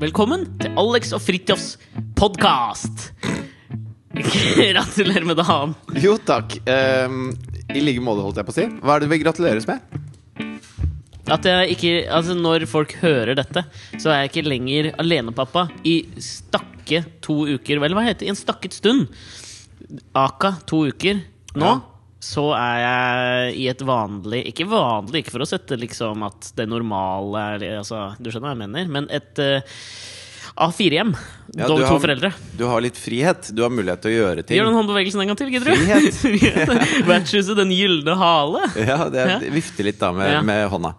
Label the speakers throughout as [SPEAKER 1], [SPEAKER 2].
[SPEAKER 1] Velkommen til Alex og Fritjofs podkast! Gratulerer med dagen.
[SPEAKER 2] Jo, takk. Ehm, I like måte, holdt jeg på å si. Hva er det vi gratuleres med?
[SPEAKER 1] At jeg ikke, altså Når folk hører dette, så er jeg ikke lenger alenepappa i stakke to uker. Vel, hva heter det? I en stakket stund. Aka to uker. Nå
[SPEAKER 2] Ja.
[SPEAKER 1] så er jeg i et vanlig Ikke vanlig, ikke for å sette liksom at det normale eller, altså, Du skjønner hva jeg mener? Men et eh, A4-hjem.
[SPEAKER 2] Ja,
[SPEAKER 1] Dog
[SPEAKER 2] du
[SPEAKER 1] to
[SPEAKER 2] har-
[SPEAKER 1] foreldre.
[SPEAKER 2] Du har litt frihet. Du har mulighet til å gjøre ting.
[SPEAKER 1] Gjør den håndbevegelsen en gang til, gidder du?
[SPEAKER 2] Frihet.
[SPEAKER 1] Vertshuset Den gylne hale.
[SPEAKER 2] Ja, det
[SPEAKER 1] Ja.
[SPEAKER 2] det vifter litt da med,
[SPEAKER 1] Ja. Mm.
[SPEAKER 2] med hånda.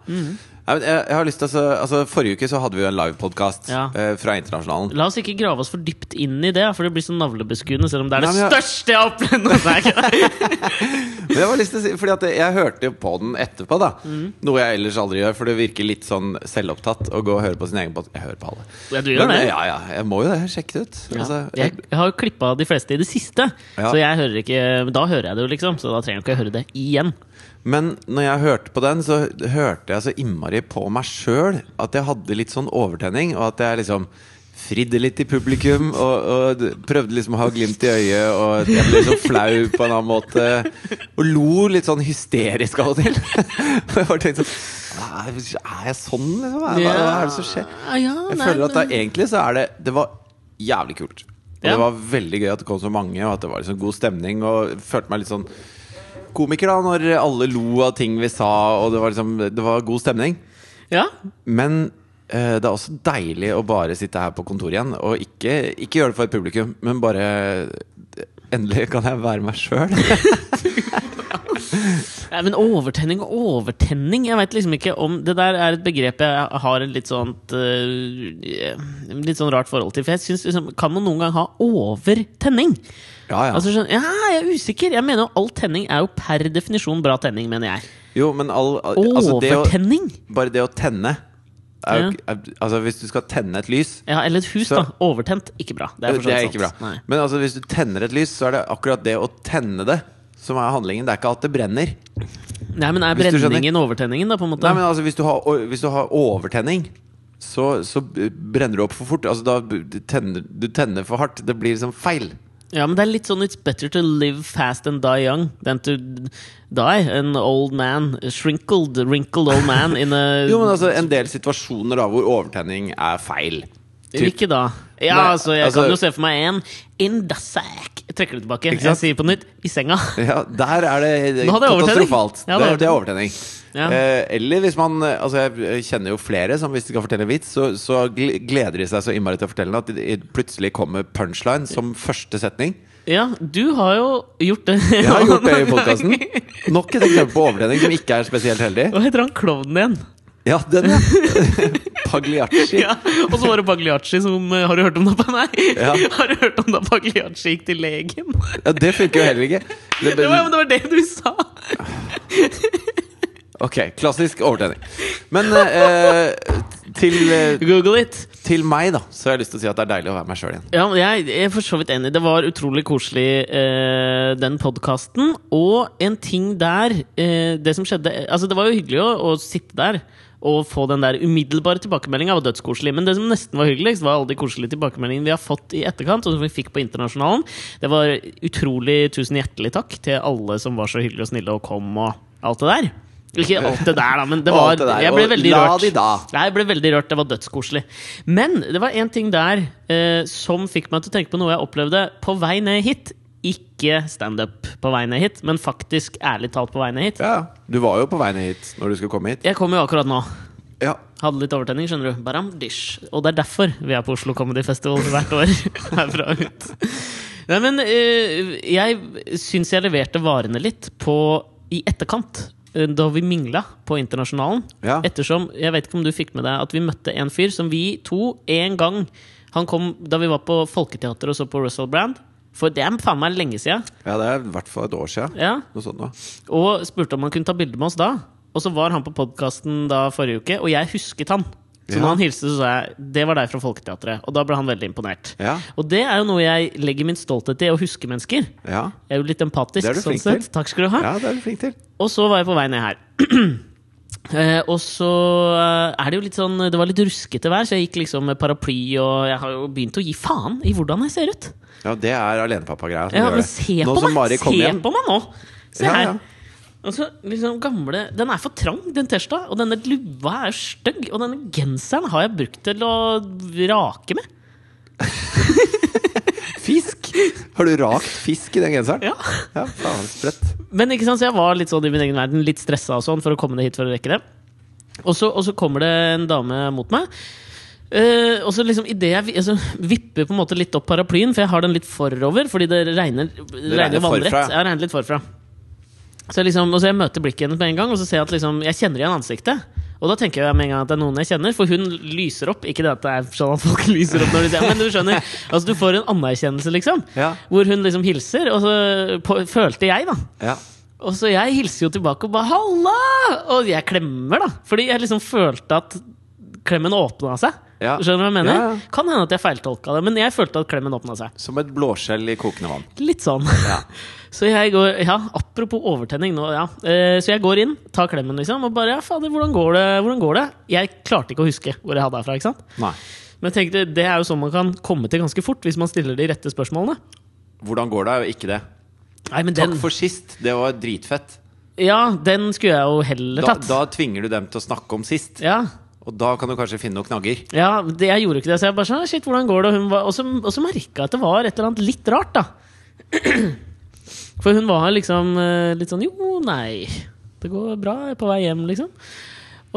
[SPEAKER 2] Nei, men jeg, jeg har lyst til å så- altså, Forrige uke så hadde vi jo en livepodkast
[SPEAKER 1] Ja.
[SPEAKER 2] eh, fra Internasjonalen.
[SPEAKER 1] La oss ikke grave oss for dypt inn i det, for det blir så navlebeskuende. Selv om det er det
[SPEAKER 2] Nei, men jeg-
[SPEAKER 1] største jeg har opplevd! Nei, det er ikke det.
[SPEAKER 2] Men jeg, har lyst til å si, fordi at jeg, jeg hørte jo på den etterpå, da.
[SPEAKER 1] Mm.
[SPEAKER 2] Noe jeg ellers aldri gjør, for det virker litt sånn selvopptatt å gå og høre på sin egen podkast. Jeg hører på alle.
[SPEAKER 1] Ja, du gjør
[SPEAKER 2] Men,
[SPEAKER 1] det.
[SPEAKER 2] Ja, ja, jeg må jo det. Sjekk det ut.
[SPEAKER 1] Ja.
[SPEAKER 2] Altså,
[SPEAKER 1] Jeg,
[SPEAKER 2] jeg-
[SPEAKER 1] jeg har jo klippa de fleste i det siste,
[SPEAKER 2] Ja.
[SPEAKER 1] så jeg hører ikke men Da hører jeg det jo, liksom. Så da trenger jeg ikke å høre det igjen.
[SPEAKER 2] Men når jeg hørte på den, så hørte jeg så innmari på meg sjøl at jeg hadde litt sånn overtenning, og at jeg liksom fridde litt i publikum og, og d- prøvde liksom å ha glimt i øyet, og at jeg ble så flau på en annen måte. Og lo litt sånn hysterisk av og til. Og jeg bare tenkte sånn Er er jeg sånn, liksom? Hva, hva er det som skjer?
[SPEAKER 1] Ja, ja,
[SPEAKER 2] Jeg
[SPEAKER 1] nei,
[SPEAKER 2] føler at det,
[SPEAKER 1] men-
[SPEAKER 2] er- egentlig så er det Det var jævlig kult. Og
[SPEAKER 1] Ja.
[SPEAKER 2] det var veldig gøy at det kom så mange, og at det var liksom god stemning. Og jeg følte meg litt sånn komiker da når alle lo av ting vi sa, og det var liksom Det var god stemning.
[SPEAKER 1] ja.
[SPEAKER 2] Men eh, det er også deilig å bare sitte her på kontoret igjen, og ikke, ikke gjøre det for et publikum, men bare Endelig kan jeg være meg sjøl.
[SPEAKER 1] Nei, men overtenning og overtenning Jeg vet liksom ikke om Det der er et begrep jeg har et litt sånt øh, Litt sånn rart forhold til. For jeg synes liksom Kan man noen gang ha overtenning?
[SPEAKER 2] Ja, ja.
[SPEAKER 1] Altså skjønn- ja, jeg er usikker. Jeg mener jo all tenning er jo per definisjon bra tenning, mener jeg.
[SPEAKER 2] Jo, men all, al- altså det å,
[SPEAKER 1] Overtenning!
[SPEAKER 2] bare det å tenne er, jo
[SPEAKER 1] Ja.
[SPEAKER 2] ikke- er, Altså Hvis du skal tenne et lys,
[SPEAKER 1] Ja, eller et hus,
[SPEAKER 2] Så-
[SPEAKER 1] da. Overtent, ikke bra. Det er, for så
[SPEAKER 2] Det er
[SPEAKER 1] vidt
[SPEAKER 2] ikke bra.
[SPEAKER 1] sant. Nei.
[SPEAKER 2] Men altså, hvis du tenner et lys, så er det akkurat det å tenne det som er handlingen. Det er ikke at det brenner.
[SPEAKER 1] Nei, men er
[SPEAKER 2] Hvis du skjønner-
[SPEAKER 1] brenningen overtenningen, da, på en måte?
[SPEAKER 2] Nei, men altså, hvis du har, o- hvis du har overtenning, så, så b- brenner du opp for fort. Altså, da b- du tenner, du tenner for hardt. Det blir liksom feil.
[SPEAKER 1] Ja, men det er litt sånn It's better to live fast and die young than to die an old man. a Shrinkled, wrinkled old man in a
[SPEAKER 2] Jo, men altså, en del situasjoner da hvor overtenning er feil. Typ,
[SPEAKER 1] Hvilke da? Ja,
[SPEAKER 2] Nei,
[SPEAKER 1] altså, jeg
[SPEAKER 2] altså-
[SPEAKER 1] kan jo se for meg en In the sack. Jeg trekker det tilbake.
[SPEAKER 2] Ikke
[SPEAKER 1] Jeg
[SPEAKER 2] sant?
[SPEAKER 1] sier på nytt i senga.
[SPEAKER 2] ja, der er det
[SPEAKER 1] Nå hadde jeg overtenning.
[SPEAKER 2] katastrofalt.
[SPEAKER 1] Ja,
[SPEAKER 2] det,
[SPEAKER 1] det er
[SPEAKER 2] er- det er overtenning.
[SPEAKER 1] Ja.
[SPEAKER 2] Eh, eller hvis man eh, Altså, jeg kjenner jo flere som hvis de skal fortelle en vits, så, så gl- gleder de seg så innmari til å fortelle den at de- de plutselig kommer punchline som første setning.
[SPEAKER 1] Ja, du har jo gjort det.
[SPEAKER 2] Jeg har gjort det i podkasten. Nok et eksempel på overtrening som ikke er spesielt heldig.
[SPEAKER 1] Hva heter han klovnen igjen?
[SPEAKER 2] Ja, den, ja. Pagliacci.
[SPEAKER 1] Ja, og så var det Pagliacci som eh, Har du hørt om det? Nei!
[SPEAKER 2] Ja.
[SPEAKER 1] Har du hørt om da Pagliacci gikk til legen?
[SPEAKER 2] Ja, det funker jo heller ikke. Det,
[SPEAKER 1] Det var, men det var det du sa!
[SPEAKER 2] ok, klassisk overtrening. Men eh, til, eh,
[SPEAKER 1] Google it!
[SPEAKER 2] til meg, da, så har jeg lyst til å si at det er deilig å være meg sjøl igjen.
[SPEAKER 1] Ja, men jeg jeg er for så vidt enig. Det var utrolig koselig, eh, den podkasten. Og en ting der eh, Det som skjedde eh, Altså, det var jo hyggelig å, å sitte der og få den der umiddelbare tilbakemeldinga. Var dødskoselig. Men det som nesten var hyggeligst, var alle de koselige tilbakemeldingene vi har fått i etterkant, og som vi fikk på Internasjonalen. Det var utrolig tusen hjertelig takk til alle som var så hyggelige og snille og kom og alt det der. Ikke alt det der, da, men det
[SPEAKER 2] Og
[SPEAKER 1] var
[SPEAKER 2] alt det der,
[SPEAKER 1] Jeg ble
[SPEAKER 2] og
[SPEAKER 1] veldig
[SPEAKER 2] la
[SPEAKER 1] rørt.
[SPEAKER 2] de da.
[SPEAKER 1] Nei, jeg ble veldig rørt. Det var dødskoselig. Men det var én ting der eh, som fikk meg til å tenke på noe jeg opplevde på vei ned hit. Ikke standup på vei ned hit, men faktisk ærlig talt på vei ned hit.
[SPEAKER 2] Ja, Du var jo på vei ned hit når du skulle komme hit.
[SPEAKER 1] Jeg kom jo akkurat nå.
[SPEAKER 2] Ja,
[SPEAKER 1] Hadde litt overtenning, skjønner du. Baram dish. Og det er derfor vi er på Oslo Comedy Festival hvert år. Herfra og ut. Nei, men eh, jeg syns jeg leverte varene litt på i etterkant. eh, Da vi mingla på Internasjonalen.
[SPEAKER 2] Ja.
[SPEAKER 1] Ettersom, jeg vet ikke om du fikk med deg at vi møtte en fyr som vi to en gang Han kom da vi var på Folketeatret og så på Russell Brand. For det er faen meg lenge sia.
[SPEAKER 2] ja det er i hvert fall et år sia.
[SPEAKER 1] Ja.
[SPEAKER 2] Noe sånt noe.
[SPEAKER 1] Og spurte om han kunne ta bilde med oss da. Og så var han på podkasten da forrige uke, og jeg husket han. Så
[SPEAKER 2] Ja.
[SPEAKER 1] når han hilste, så sa jeg det var deg fra Folketeatret. Og da ble han veldig imponert.
[SPEAKER 2] Ja.
[SPEAKER 1] Og det er jo noe jeg legger min stolthet i, å huske mennesker.
[SPEAKER 2] Ja.
[SPEAKER 1] Jeg er jo litt empatisk.
[SPEAKER 2] Det er du
[SPEAKER 1] sånn
[SPEAKER 2] flink til.
[SPEAKER 1] sett. Takk skal du ha.
[SPEAKER 2] ja, det er du flink til.
[SPEAKER 1] Og så var jeg på vei ned her. Eh, og så eh, er det jo litt sånn Det var litt ruskete vær, så jeg gikk liksom med paraply, og jeg har jo begynt å gi faen i hvordan jeg ser ut.
[SPEAKER 2] Ja, det er alenepappa-greia. som
[SPEAKER 1] Ja,
[SPEAKER 2] gjør
[SPEAKER 1] men
[SPEAKER 2] det.
[SPEAKER 1] se
[SPEAKER 2] Nå
[SPEAKER 1] på
[SPEAKER 2] som
[SPEAKER 1] meg!
[SPEAKER 2] Mari kom
[SPEAKER 1] se
[SPEAKER 2] hjem-
[SPEAKER 1] på meg nå! Se
[SPEAKER 2] Ja,
[SPEAKER 1] her.
[SPEAKER 2] ja.
[SPEAKER 1] Og så liksom gamle Den er for trang, den T-skjorta. Og denne lua er stygg. Og denne genseren har jeg brukt til å rake med.
[SPEAKER 2] Fisk! Har du rakt fisk i den genseren?
[SPEAKER 1] Ja.
[SPEAKER 2] Ja, faen sprøtt.
[SPEAKER 1] Men ikke sant, så jeg var litt sånn i min egen verden, litt stressa og sånn for å komme ned hit for å rekke det. Og så, og så kommer det en dame mot meg. Eh, og så liksom idet jeg vi- altså, vipper på en måte litt opp paraplyen, for jeg har den litt forover, fordi det regner, regner,
[SPEAKER 2] regner
[SPEAKER 1] vannrett.
[SPEAKER 2] forfra, ja.
[SPEAKER 1] Jeg regner litt forfra. Så jeg, liksom, og så jeg møter blikket hennes med en gang, og så ser jeg at liksom, jeg kjenner igjen ansiktet. Og da tenker jeg med en gang at det er noen jeg kjenner, for hun lyser opp. Ikke det at det er sånn at folk lyser opp når de ser men du skjønner. Altså, du får en anerkjennelse, liksom.
[SPEAKER 2] Ja.
[SPEAKER 1] Hvor hun liksom hilser, og så på, følte jeg, da.
[SPEAKER 2] Ja.
[SPEAKER 1] Og så jeg hilser jo tilbake og bare 'halla!' Og jeg klemmer, da. Fordi jeg liksom følte at klemmen åpna seg.
[SPEAKER 2] Ja.
[SPEAKER 1] Skjønner du hva jeg mener?
[SPEAKER 2] Ja, ja.
[SPEAKER 1] Kan hende at jeg feiltolka det, men jeg følte at klemmen åpna seg.
[SPEAKER 2] Som et blåskjell i kokende vann.
[SPEAKER 1] Litt sånn. Så jeg går Ja, apropos overtenning nå, ja. Eh, Så jeg går inn, tar klemmen, liksom, og bare 'ja, fader, hvordan går det?' Hvordan går det? Jeg klarte ikke å huske hvor jeg hadde herfra, ikke sant?
[SPEAKER 2] Nei.
[SPEAKER 1] Men jeg tenkte, det er jo sånn man kan komme til ganske fort, hvis man stiller de rette spørsmålene.
[SPEAKER 2] Hvordan går det? Er jo ikke det.
[SPEAKER 1] Nei, men
[SPEAKER 2] Takk
[SPEAKER 1] den,
[SPEAKER 2] for sist. Det var dritfett.
[SPEAKER 1] ja, den skulle jeg jo heller
[SPEAKER 2] Da,
[SPEAKER 1] tatt.
[SPEAKER 2] da tvinger du dem til å snakke om sist,
[SPEAKER 1] Ja,
[SPEAKER 2] og da kan du kanskje finne noen knagger.
[SPEAKER 1] Ja, det, jeg gjorde ikke det. Så jeg bare sånn Shit, hvordan går det? Og, hun var, og så, og så merka jeg at det var et eller annet litt rart, da. For hun var liksom eh, litt sånn Jo, nei. Det går bra. Jeg er på vei hjem, liksom.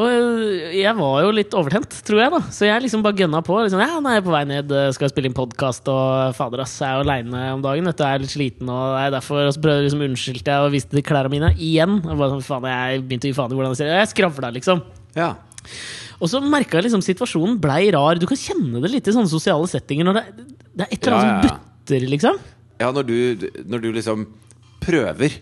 [SPEAKER 1] Og eh, jeg var jo litt overtent, tror jeg, da. Så jeg liksom bare gønna på. Liksom, ja, nei, jeg er på vei ned, eh, skal spille inn podkast, og fader, ass, jeg er aleine om dagen. Vet du, jeg er litt sliten, og nei, derfor og så prøvde jeg liksom unnskyldte jeg og viste til klærne mine igjen. Og bare sånn, faen, jeg begynte å gi faen i hvordan jeg ser ut. Jeg skravla, liksom.
[SPEAKER 2] Ja.
[SPEAKER 1] Og så merka jeg liksom situasjonen blei rar. Du kan kjenne det litt i sånne sosiale settinger når det, det er et eller annet som
[SPEAKER 2] Ja, ja, ja.
[SPEAKER 1] butter, liksom.
[SPEAKER 2] Ja, når du, når du liksom prøver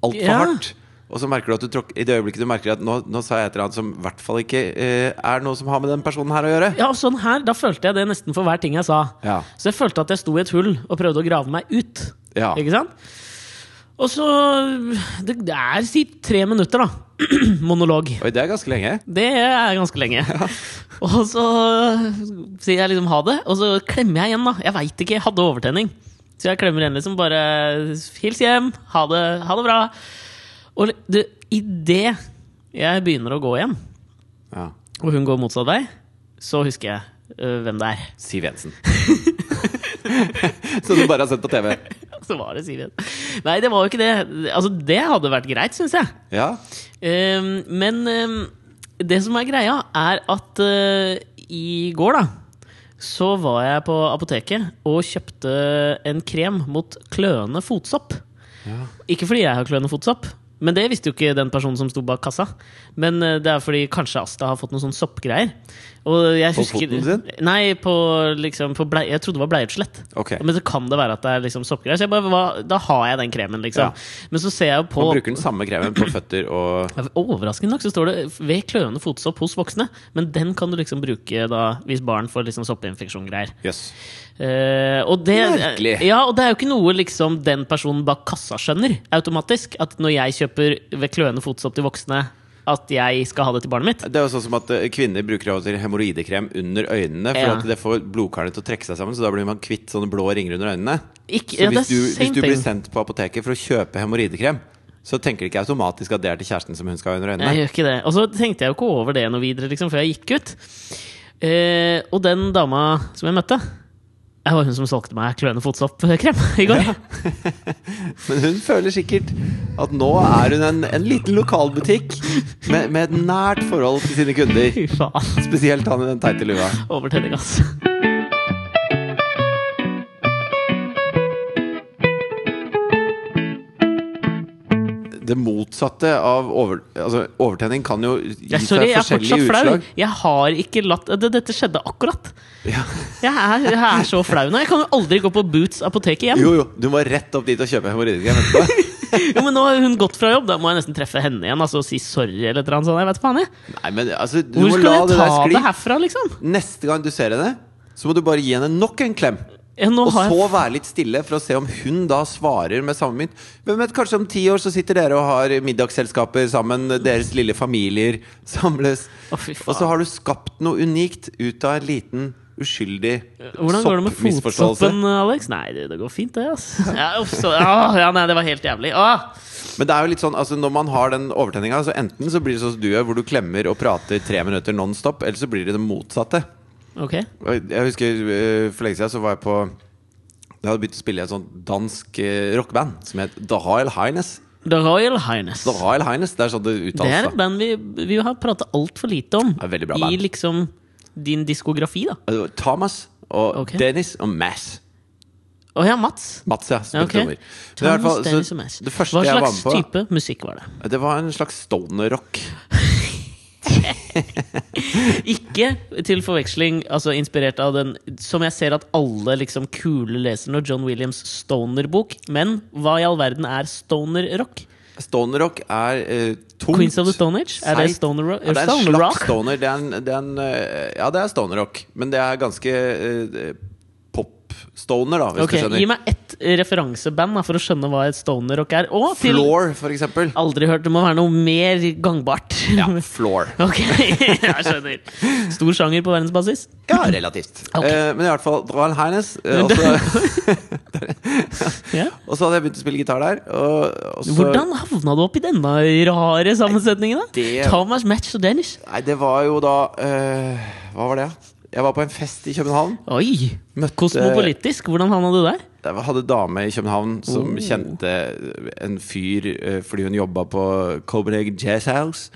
[SPEAKER 2] altfor
[SPEAKER 1] Ja.
[SPEAKER 2] hardt, og så merker du at du tråkker I det øyeblikket du merker at nå, nå sa jeg et eller annet som i hvert fall ikke eh, er noe som har med den personen her å gjøre.
[SPEAKER 1] Ja, og sånn her, Da følte jeg det nesten for hver ting jeg sa.
[SPEAKER 2] Ja.
[SPEAKER 1] Så jeg følte at jeg sto i et hull og prøvde å grave meg ut.
[SPEAKER 2] Ja.
[SPEAKER 1] Ikke sant? Og så Det det er si tre minutter, da. Monolog.
[SPEAKER 2] Oi, det er ganske lenge.
[SPEAKER 1] Det er ganske lenge. Og så sier jeg liksom ha det, og så klemmer jeg igjen, da. Jeg veit ikke, jeg hadde overtenning. Så jeg klemmer igjen liksom bare Hils hjem, ha det, ha det bra. Og idet jeg begynner å gå hjem,
[SPEAKER 2] Ja.
[SPEAKER 1] og hun går motsatt vei, så husker jeg øh, hvem det er.
[SPEAKER 2] Siv Jensen. Som du bare har sett på TV.
[SPEAKER 1] Så var det Siv Jensen. Nei, det var jo ikke det. Altså, det hadde vært greit, syns jeg.
[SPEAKER 2] Ja.
[SPEAKER 1] Ehm, men ehm, det som er greia, er at eh, i går, da, så var jeg på apoteket og kjøpte en krem mot kløende fotsopp. Ikke fordi jeg har kløende fotsopp, men det visste jo ikke den personen som sto bak kassa. Men eh, det er fordi kanskje Asta har fått noen sånne soppgreier. Og jeg
[SPEAKER 2] På
[SPEAKER 1] husker,
[SPEAKER 2] foten sin?
[SPEAKER 1] Nei, på, liksom, på blei, jeg trodde det var bleieutslett.
[SPEAKER 2] Ok.
[SPEAKER 1] Men så kan det være at det er liksom soppgreier. Så jeg bare, hva, da har jeg den kremen,
[SPEAKER 2] Ja.
[SPEAKER 1] liksom. Men så ser jeg jo på
[SPEAKER 2] Man bruker den samme kremen på føtter og
[SPEAKER 1] ja, Overraskende nok så står det 'ved kløende fotsopp hos voksne', men den kan du liksom bruke da hvis barn får liksom soppinfeksjon-greier.
[SPEAKER 2] Jøss.
[SPEAKER 1] Eh, og det,
[SPEAKER 2] Merkelig.
[SPEAKER 1] Ja, og det er jo ikke noe liksom den personen bak kassa skjønner automatisk. At når jeg kjøper 'ved kløende fotsopp' til voksne, at jeg skal ha det til barnet mitt.
[SPEAKER 2] Det er jo sånn som at eh, kvinner bruker av og til hemoroidekrem under øynene, for
[SPEAKER 1] Ja.
[SPEAKER 2] at det får blodkarene til å trekke seg sammen, så da blir man kvitt sånne blå ringer under øynene.
[SPEAKER 1] Ikke,
[SPEAKER 2] Så
[SPEAKER 1] ja, det er
[SPEAKER 2] hvis du, hvis
[SPEAKER 1] same
[SPEAKER 2] du blir
[SPEAKER 1] thing.
[SPEAKER 2] sendt på apoteket for å kjøpe hemoroidekrem, så tenker de ikke automatisk at det er til kjæresten som hun skal ha under øynene.
[SPEAKER 1] Jeg gjør ikke det. Og så tenkte jeg jo ikke over det noe videre liksom, før jeg gikk ut. Eh, og den dama som jeg møtte, det var hun som solgte meg kløende fotsoppkrem i går.
[SPEAKER 2] Men hun føler sikkert at nå er hun en, en liten lokalbutikk med, med et nært forhold til sine kunder.
[SPEAKER 1] Fy faen.
[SPEAKER 2] Spesielt han i den teite lua.
[SPEAKER 1] Overtenning, altså.
[SPEAKER 2] Det motsatte av over, altså, overtenning kan jo gi
[SPEAKER 1] Jeg,
[SPEAKER 2] seg
[SPEAKER 1] sorry, jeg er
[SPEAKER 2] forskjellige
[SPEAKER 1] fortsatt flau.
[SPEAKER 2] utslag.
[SPEAKER 1] Jeg har ikke latt det, Dette skjedde akkurat.
[SPEAKER 2] Ja.
[SPEAKER 1] Jeg er, jeg er så flau nå. Jeg kan jo aldri gå på Boots apotek igjen. Jo.
[SPEAKER 2] Jo, jo, du må rett opp dit og kjøpe hemoroidekrem etterpå.
[SPEAKER 1] men nå har hun gått fra jobb. Da må jeg nesten treffe henne igjen altså, og si sorry eller et eller annet sånt. Jeg vet faen, jeg.
[SPEAKER 2] Nei, men altså, du
[SPEAKER 1] Hvor
[SPEAKER 2] må
[SPEAKER 1] skal
[SPEAKER 2] la
[SPEAKER 1] jeg
[SPEAKER 2] det
[SPEAKER 1] ta
[SPEAKER 2] der
[SPEAKER 1] det
[SPEAKER 2] skli.
[SPEAKER 1] herfra, liksom?
[SPEAKER 2] Neste gang du ser henne, så må du bare gi henne nok en klem.
[SPEAKER 1] Ja, nå
[SPEAKER 2] Og
[SPEAKER 1] har jeg-
[SPEAKER 2] så være litt stille for å se om hun da svarer med samme mynt. Hvem vet, kanskje om ti år så sitter dere og har middagsselskaper sammen. Deres lille familier samles.
[SPEAKER 1] Å, fy faen.
[SPEAKER 2] og så har du skapt noe unikt ut av en liten uskyldig
[SPEAKER 1] Hvordan går det med
[SPEAKER 2] soppmisforståelse.
[SPEAKER 1] fotsoppen, Alex? Nei, det, det går fint, det. ass ja, uff, så, ah, ja, nei, det var helt jævlig. Ah,
[SPEAKER 2] Men det er jo litt sånn, altså når man har den overtenninga, så enten så blir det sånn som du gjør, hvor du klemmer og prater tre minutter nonstop, eller så blir det det motsatte.
[SPEAKER 1] ok.
[SPEAKER 2] Og Jeg husker eh, for lenge siden så var jeg på Jeg hadde begynt å spille i et sånt dansk eh, rockeband som het The Hyle Highness.
[SPEAKER 1] The Royal Highness.
[SPEAKER 2] The Hyle Highness, det er sånn det
[SPEAKER 1] Det er
[SPEAKER 2] uttales.
[SPEAKER 1] et
[SPEAKER 2] da.
[SPEAKER 1] band vi, vi har prata altfor lite om
[SPEAKER 2] er et veldig bra
[SPEAKER 1] i
[SPEAKER 2] band.
[SPEAKER 1] liksom din diskografi. da
[SPEAKER 2] Det var Uh, Thomas og
[SPEAKER 1] Ok.
[SPEAKER 2] Dennis og Mass.
[SPEAKER 1] Å ja, Mats.
[SPEAKER 2] Mats, ja.
[SPEAKER 1] Ja,
[SPEAKER 2] Spilte
[SPEAKER 1] ok.
[SPEAKER 2] trommer. Men i hvert fall,
[SPEAKER 1] Thomas
[SPEAKER 2] så
[SPEAKER 1] Dennis og Mass.
[SPEAKER 2] Det
[SPEAKER 1] Hva
[SPEAKER 2] første jeg var
[SPEAKER 1] slags
[SPEAKER 2] med på,
[SPEAKER 1] type musikk var det?
[SPEAKER 2] det var en slags stoner-rock.
[SPEAKER 1] Ikke til forveksling altså inspirert av den som jeg ser at alle liksom kule leser nå, John Williams' Stoner-bok. Men hva i all verden er stoner-rock?
[SPEAKER 2] Stoner-rock er eh, tungt.
[SPEAKER 1] Queens of the Stone Age? Er det
[SPEAKER 2] Seigt.
[SPEAKER 1] stoner-rock?
[SPEAKER 2] Ja, det er en
[SPEAKER 1] stoner
[SPEAKER 2] slags
[SPEAKER 1] rock?
[SPEAKER 2] stoner. Det er en, det er en, eh, ja, det er stoner-rock. Men det er ganske eh, pop-stoner, da, hvis
[SPEAKER 1] Ok,
[SPEAKER 2] du skjønner.
[SPEAKER 1] Gi meg ett referanseband da, for å skjønne hva et stoner-rock er. Og til
[SPEAKER 2] Floor, for eksempel.
[SPEAKER 1] Aldri hørt, det må være noe mer gangbart.
[SPEAKER 2] Ja, floor.
[SPEAKER 1] Ok, jeg skjønner. Stor sjanger på verdensbasis.
[SPEAKER 2] Ja, relativt.
[SPEAKER 1] Ok.
[SPEAKER 2] Eh, men i hvert fall, det var en Highness. Eh, og så-
[SPEAKER 1] Ja.
[SPEAKER 2] og så hadde jeg begynt å spille gitar der. Og, og så,
[SPEAKER 1] Hvordan havna du opp i denne rare sammensetningen? da?
[SPEAKER 2] Det-
[SPEAKER 1] Thomas Match og Danish.
[SPEAKER 2] Nei, det var jo da eh, Hva var det, da? Jeg var på en fest i København.
[SPEAKER 1] Oi!
[SPEAKER 2] Møtte-
[SPEAKER 1] Kosmopolitisk. Hvordan havna du der?
[SPEAKER 2] Jeg hadde en dame i København som
[SPEAKER 1] Oh.
[SPEAKER 2] kjente en fyr eh, fordi hun jobba på Copenhagen Jazz House.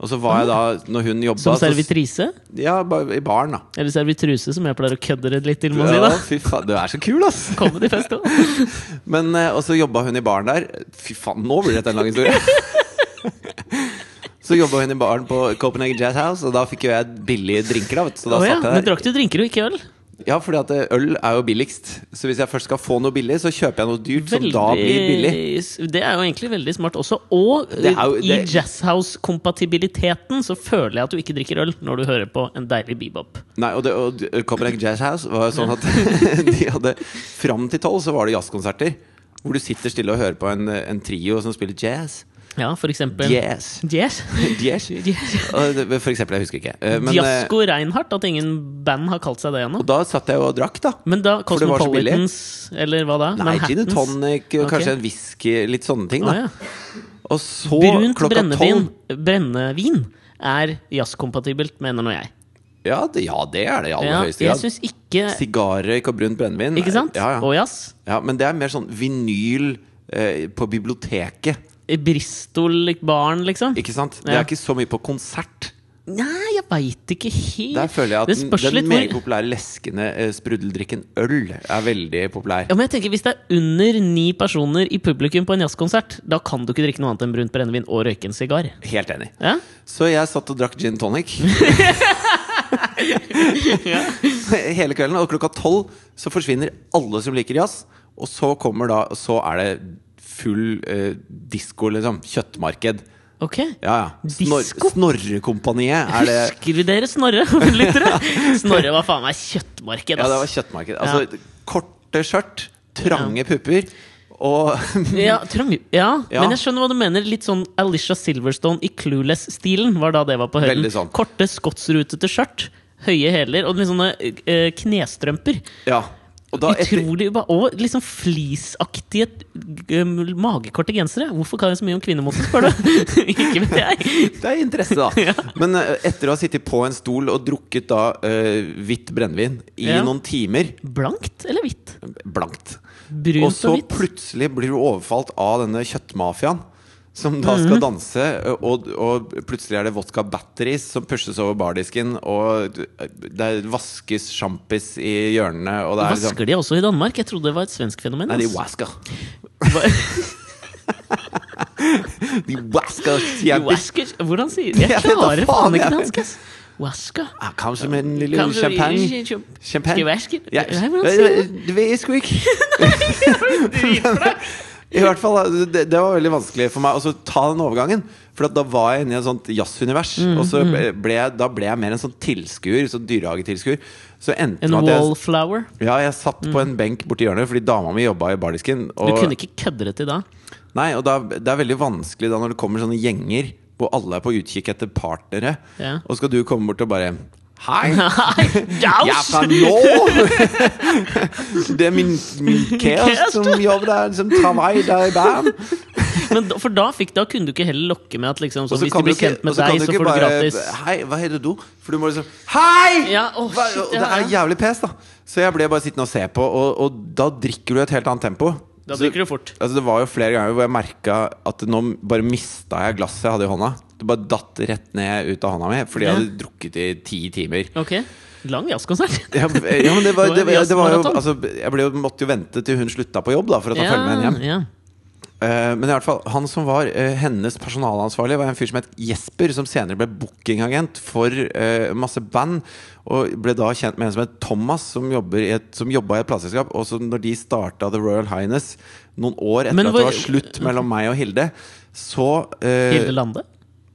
[SPEAKER 2] Og så var jeg da, når hun jobba
[SPEAKER 1] Ah. Som
[SPEAKER 2] så-
[SPEAKER 1] servitrise?
[SPEAKER 2] Ja, bare i baren, da.
[SPEAKER 1] Eller servitruse, som jeg pleier å kødde det litt til med å si.
[SPEAKER 2] Ja,
[SPEAKER 1] da
[SPEAKER 2] fy faen, du er så kul, ass!
[SPEAKER 1] Comedyfestival.
[SPEAKER 2] Men, eh, og så jobba hun i baren der. Fy faen, nå blir dette en lang historie! Så jobba hun i baren på Copenhagen Jazz House, og da fikk jo jeg billige drinker. da, vet du. Så da
[SPEAKER 1] Å ja.
[SPEAKER 2] satt
[SPEAKER 1] Men
[SPEAKER 2] jeg der.
[SPEAKER 1] drakk du drinker og ikke øl?
[SPEAKER 2] Ja, fordi at eh, øl er jo billigst. Så hvis jeg først skal få noe billig, så kjøper jeg noe dyrt som da blir billig.
[SPEAKER 1] Det er jo egentlig veldig smart også. Og
[SPEAKER 2] Det er jo-
[SPEAKER 1] eh, i
[SPEAKER 2] det-
[SPEAKER 1] jazzhouse-kompatibiliteten så føler jeg at du ikke drikker øl når du hører på en deilig bebop.
[SPEAKER 2] Nei, og, det, og Copenhagen Jazz House var jo sånn at de hadde Fram til tolv så var det jazzkonserter. Hvor du sitter stille og hører på en, en trio som spiller jazz.
[SPEAKER 1] Ja, for eksempel
[SPEAKER 2] Jazz.
[SPEAKER 1] Jazz.
[SPEAKER 2] Jazz. Og det- For eksempel. Jeg husker ikke. Eh, Men, eh,
[SPEAKER 1] Diasko Reinhardt, at ingen band har kalt seg det ennå.
[SPEAKER 2] og da satt jeg og drakk, da.
[SPEAKER 1] Men da
[SPEAKER 2] det var så
[SPEAKER 1] Cosmopolitans, eller hva da?
[SPEAKER 2] Nei, gin og
[SPEAKER 1] Manhattans?
[SPEAKER 2] tonic, og
[SPEAKER 1] Ok.
[SPEAKER 2] kanskje en whisky, litt sånne ting.
[SPEAKER 1] Å,
[SPEAKER 2] da
[SPEAKER 1] ja.
[SPEAKER 2] Og så
[SPEAKER 1] Brunt
[SPEAKER 2] klokka
[SPEAKER 1] brennevin,
[SPEAKER 2] tolv
[SPEAKER 1] brennevin er jazzkompatibelt, mener nå jeg.
[SPEAKER 2] ja det, ja, det er det i aller
[SPEAKER 1] Ja,
[SPEAKER 2] høyeste
[SPEAKER 1] jeg
[SPEAKER 2] grad.
[SPEAKER 1] syns ikke
[SPEAKER 2] Sigarrøyk og brunt brennevin.
[SPEAKER 1] Ikke sant?
[SPEAKER 2] Ja, ja.
[SPEAKER 1] Og jazz.
[SPEAKER 2] ja, men det er mer sånn vinyl eh, på biblioteket.
[SPEAKER 1] Bristol-baren, liksom.
[SPEAKER 2] Ikke sant? Det
[SPEAKER 1] Ja.
[SPEAKER 2] er ikke så mye på konsert.
[SPEAKER 1] Nei, jeg veit ikke helt
[SPEAKER 2] Der føler jeg at
[SPEAKER 1] Det
[SPEAKER 2] den,
[SPEAKER 1] spørs
[SPEAKER 2] den
[SPEAKER 1] litt
[SPEAKER 2] mer
[SPEAKER 1] hvor
[SPEAKER 2] populære leskende eh, spruddeldrikken øl er veldig populær.
[SPEAKER 1] ja, men jeg tenker Hvis det er under ni personer i publikum på en jazzkonsert, da kan du ikke drikke noe annet enn brunt brennevin og røyke en sigar.
[SPEAKER 2] Helt enig.
[SPEAKER 1] Ja?
[SPEAKER 2] Så jeg satt og drakk gin tonic hele kvelden. Og klokka tolv så forsvinner alle som liker jazz. Og så kommer da Så er det full eh, disko, liksom. Kjøttmarked.
[SPEAKER 1] Ok.
[SPEAKER 2] Ja, ja. Snor
[SPEAKER 1] Disko?
[SPEAKER 2] Snorrekompaniet er det
[SPEAKER 1] Husker dere Snorre, lyttere? Snorre var faen meg kjøttmarked,
[SPEAKER 2] Ja, det var
[SPEAKER 1] ass.
[SPEAKER 2] kjøttmarked. Altså korte skjørt, trange pupper og
[SPEAKER 1] Ja, trang, ja.
[SPEAKER 2] Ja.
[SPEAKER 1] men jeg skjønner hva du mener. Litt sånn Alicia Silverstone i Clueless-stilen var da det var på høyden.
[SPEAKER 2] Veldig sånn.
[SPEAKER 1] Korte, skotsrutete skjørt, høye hæler og litt sånne eh, knestrømper.
[SPEAKER 2] Ja. Og da etter,
[SPEAKER 1] Utrolig uba- Og liksom fleeceaktige um, magekorte gensere. Hvorfor kan jeg så mye om kvinnemote, spør du? Ikke vet jeg.
[SPEAKER 2] Det er interesse, da. Men eh, etter å ha sittet på en stol og drukket da eh, hvitt brennevin i
[SPEAKER 1] Ja.
[SPEAKER 2] noen timer
[SPEAKER 1] Blankt eller hvitt?
[SPEAKER 2] Blankt.
[SPEAKER 1] Brunt
[SPEAKER 2] og så
[SPEAKER 1] og hvitt.
[SPEAKER 2] plutselig blir du overfalt av denne kjøttmafiaen. Som da skal danse, eh, og, og plutselig er det vodka batteries som pushes over bardisken. Og det er vaskes sjampis i hjørnene, og det er liksom
[SPEAKER 1] Vasker de også i Danmark? Jeg trodde det var et svensk fenomen.
[SPEAKER 2] Nei, de
[SPEAKER 1] ass.
[SPEAKER 2] wasker.
[SPEAKER 1] Hva-
[SPEAKER 2] De wasker
[SPEAKER 1] de
[SPEAKER 2] sjampis.
[SPEAKER 1] Wasker Hvordan sier de Jeg
[SPEAKER 2] Jeg vet da
[SPEAKER 1] klarer
[SPEAKER 2] faen,
[SPEAKER 1] faen ikke
[SPEAKER 2] jeg-
[SPEAKER 1] dansk, ass. Wasker.
[SPEAKER 2] Ah, Kanskje med en lille
[SPEAKER 1] Kanskje-
[SPEAKER 2] champagne.
[SPEAKER 1] Skal
[SPEAKER 2] Champagne.
[SPEAKER 1] jeg vaske?
[SPEAKER 2] Ja.
[SPEAKER 1] Nei, hvordan sier du det?
[SPEAKER 2] Ved squeak.
[SPEAKER 1] Drit for deg.
[SPEAKER 2] I hvert fall, altså, det, det var veldig vanskelig for meg å så ta den overgangen. For at da var jeg inne i et sånt jazzunivers.
[SPEAKER 1] Mm,
[SPEAKER 2] og så ble, ble jeg- da ble jeg mer en sånn tilskuer. Sånn dyrehagetilskuer. Så endte
[SPEAKER 1] En
[SPEAKER 2] med at jeg,
[SPEAKER 1] wallflower.
[SPEAKER 2] ja, jeg satt på en benk borti hjørnet fordi dama mi jobba i bardisken.
[SPEAKER 1] Du
[SPEAKER 2] Og,
[SPEAKER 1] kunne ikke kødde det til da.
[SPEAKER 2] nei, og da, det er veldig vanskelig da når det kommer sånne gjenger hvor alle er på utkikk etter partnere,
[SPEAKER 1] Ja.
[SPEAKER 2] og skal du komme bort og bare Hei! Jeg er
[SPEAKER 1] Jaus!
[SPEAKER 2] fra Norge! Det er min, min kjæreste som jobber der, som arbeider i Bern.
[SPEAKER 1] Men da, for da, fikk, da kunne du ikke heller lokke med at liksom,
[SPEAKER 2] Og
[SPEAKER 1] sånn,
[SPEAKER 2] så
[SPEAKER 1] hvis
[SPEAKER 2] kan
[SPEAKER 1] de blir
[SPEAKER 2] ikke-
[SPEAKER 1] kjent med
[SPEAKER 2] og så kan
[SPEAKER 1] deg, så
[SPEAKER 2] ikke
[SPEAKER 1] får du
[SPEAKER 2] bare,
[SPEAKER 1] gratis.
[SPEAKER 2] Hei, hva heter du? For du må liksom Hei!
[SPEAKER 1] Ja, åh,
[SPEAKER 2] hva,
[SPEAKER 1] shit, ja,
[SPEAKER 2] og det er
[SPEAKER 1] ja.
[SPEAKER 2] jævlig pes, da. Så jeg ble bare sittende og se på, og, og da drikker du et helt annet tempo.
[SPEAKER 1] Da
[SPEAKER 2] Så-
[SPEAKER 1] drikker du fort.
[SPEAKER 2] Altså, det var jo flere ganger hvor jeg merka at nå bare mista jeg glasset jeg hadde i hånda. Det bare datt rett ned ut av hånda mi fordi jeg
[SPEAKER 1] Ja.
[SPEAKER 2] hadde drukket i ti timer.
[SPEAKER 1] Ok, lang jazzkonsert.
[SPEAKER 2] Ja, ja, men det var,
[SPEAKER 1] Det var en
[SPEAKER 2] det, var- det var jo
[SPEAKER 1] jazzmaraton.
[SPEAKER 2] altså, Jeg ble jo, måtte jo vente til hun slutta på jobb da, for å ta følge med henne hjem.
[SPEAKER 1] ja.
[SPEAKER 2] Eh, men i hvert fall, han som var eh, hennes personalansvarlig, var en fyr som het Jesper, som senere ble bookingagent for eh, masse band. Og ble da kjent med en som het Thomas, som, jobber i et, som jobba i et plateselskap. Og som når de starta The Royal Highness, noen år etter
[SPEAKER 1] Men
[SPEAKER 2] at det
[SPEAKER 1] hvor-
[SPEAKER 2] var slutt mellom meg og Hilde, så eh,
[SPEAKER 1] Hilde Lande.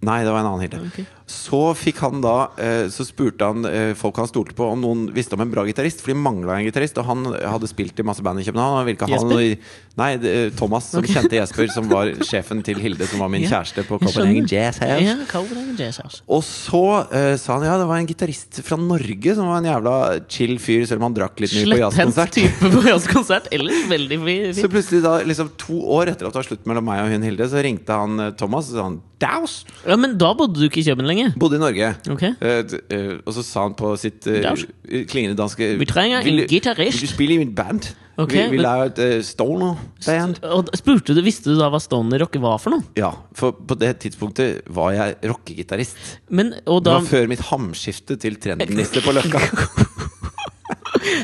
[SPEAKER 2] Nei, det var en annen Hilde.
[SPEAKER 1] Ok.
[SPEAKER 2] Så fikk han da eh, Så spurte han eh, folk han stolte på, om noen visste om en bra gitarist. For de mangla en gitarist, og han hadde spilt i masse band i København. Han ville ikke ha
[SPEAKER 1] Jesper?
[SPEAKER 2] noe Nei, det, eh, Thomas, som kjente Jesper, som var sjefen til Hilde, som var min
[SPEAKER 1] Ja,
[SPEAKER 2] kjæreste på
[SPEAKER 1] jeg
[SPEAKER 2] Copenhagen
[SPEAKER 1] skjønner.
[SPEAKER 2] Jazz House.
[SPEAKER 1] Ja, Copenhagen Jazz House.
[SPEAKER 2] Og så eh, sa han ja, det var en gitarist fra Norge som var en jævla chill fyr, selv om han drakk litt mye på
[SPEAKER 1] Slepphendt
[SPEAKER 2] jazzkonsert.
[SPEAKER 1] type på jazzkonsert. Ellers veldig fi-
[SPEAKER 2] Så
[SPEAKER 1] fint.
[SPEAKER 2] plutselig, da, liksom to år etter at det var slutt mellom meg og hun Hilde, så ringte han eh, Thomas og sa han Daus!
[SPEAKER 1] Ja, men da bodde du ikke i København lenge.
[SPEAKER 2] Bodde i Norge.
[SPEAKER 1] Ok.
[SPEAKER 2] Eh, d- eh, og så sa han på sitt eh,
[SPEAKER 1] Dansk.
[SPEAKER 2] klingende danske
[SPEAKER 1] Vi trenger en
[SPEAKER 2] vil, du-
[SPEAKER 1] gitarist."
[SPEAKER 2] Vil du spille i mitt band?
[SPEAKER 1] Ok,
[SPEAKER 2] vi vi
[SPEAKER 1] men-
[SPEAKER 2] lager et eh, stoner-band.
[SPEAKER 1] Og da spurte du, Visste du da hva stoner rock var for noe?
[SPEAKER 2] Ja, for på det tidspunktet var jeg rockegitarist.
[SPEAKER 1] Men, og
[SPEAKER 2] Det
[SPEAKER 1] da,
[SPEAKER 2] var før mitt hamskifte til trendminister på Løkka.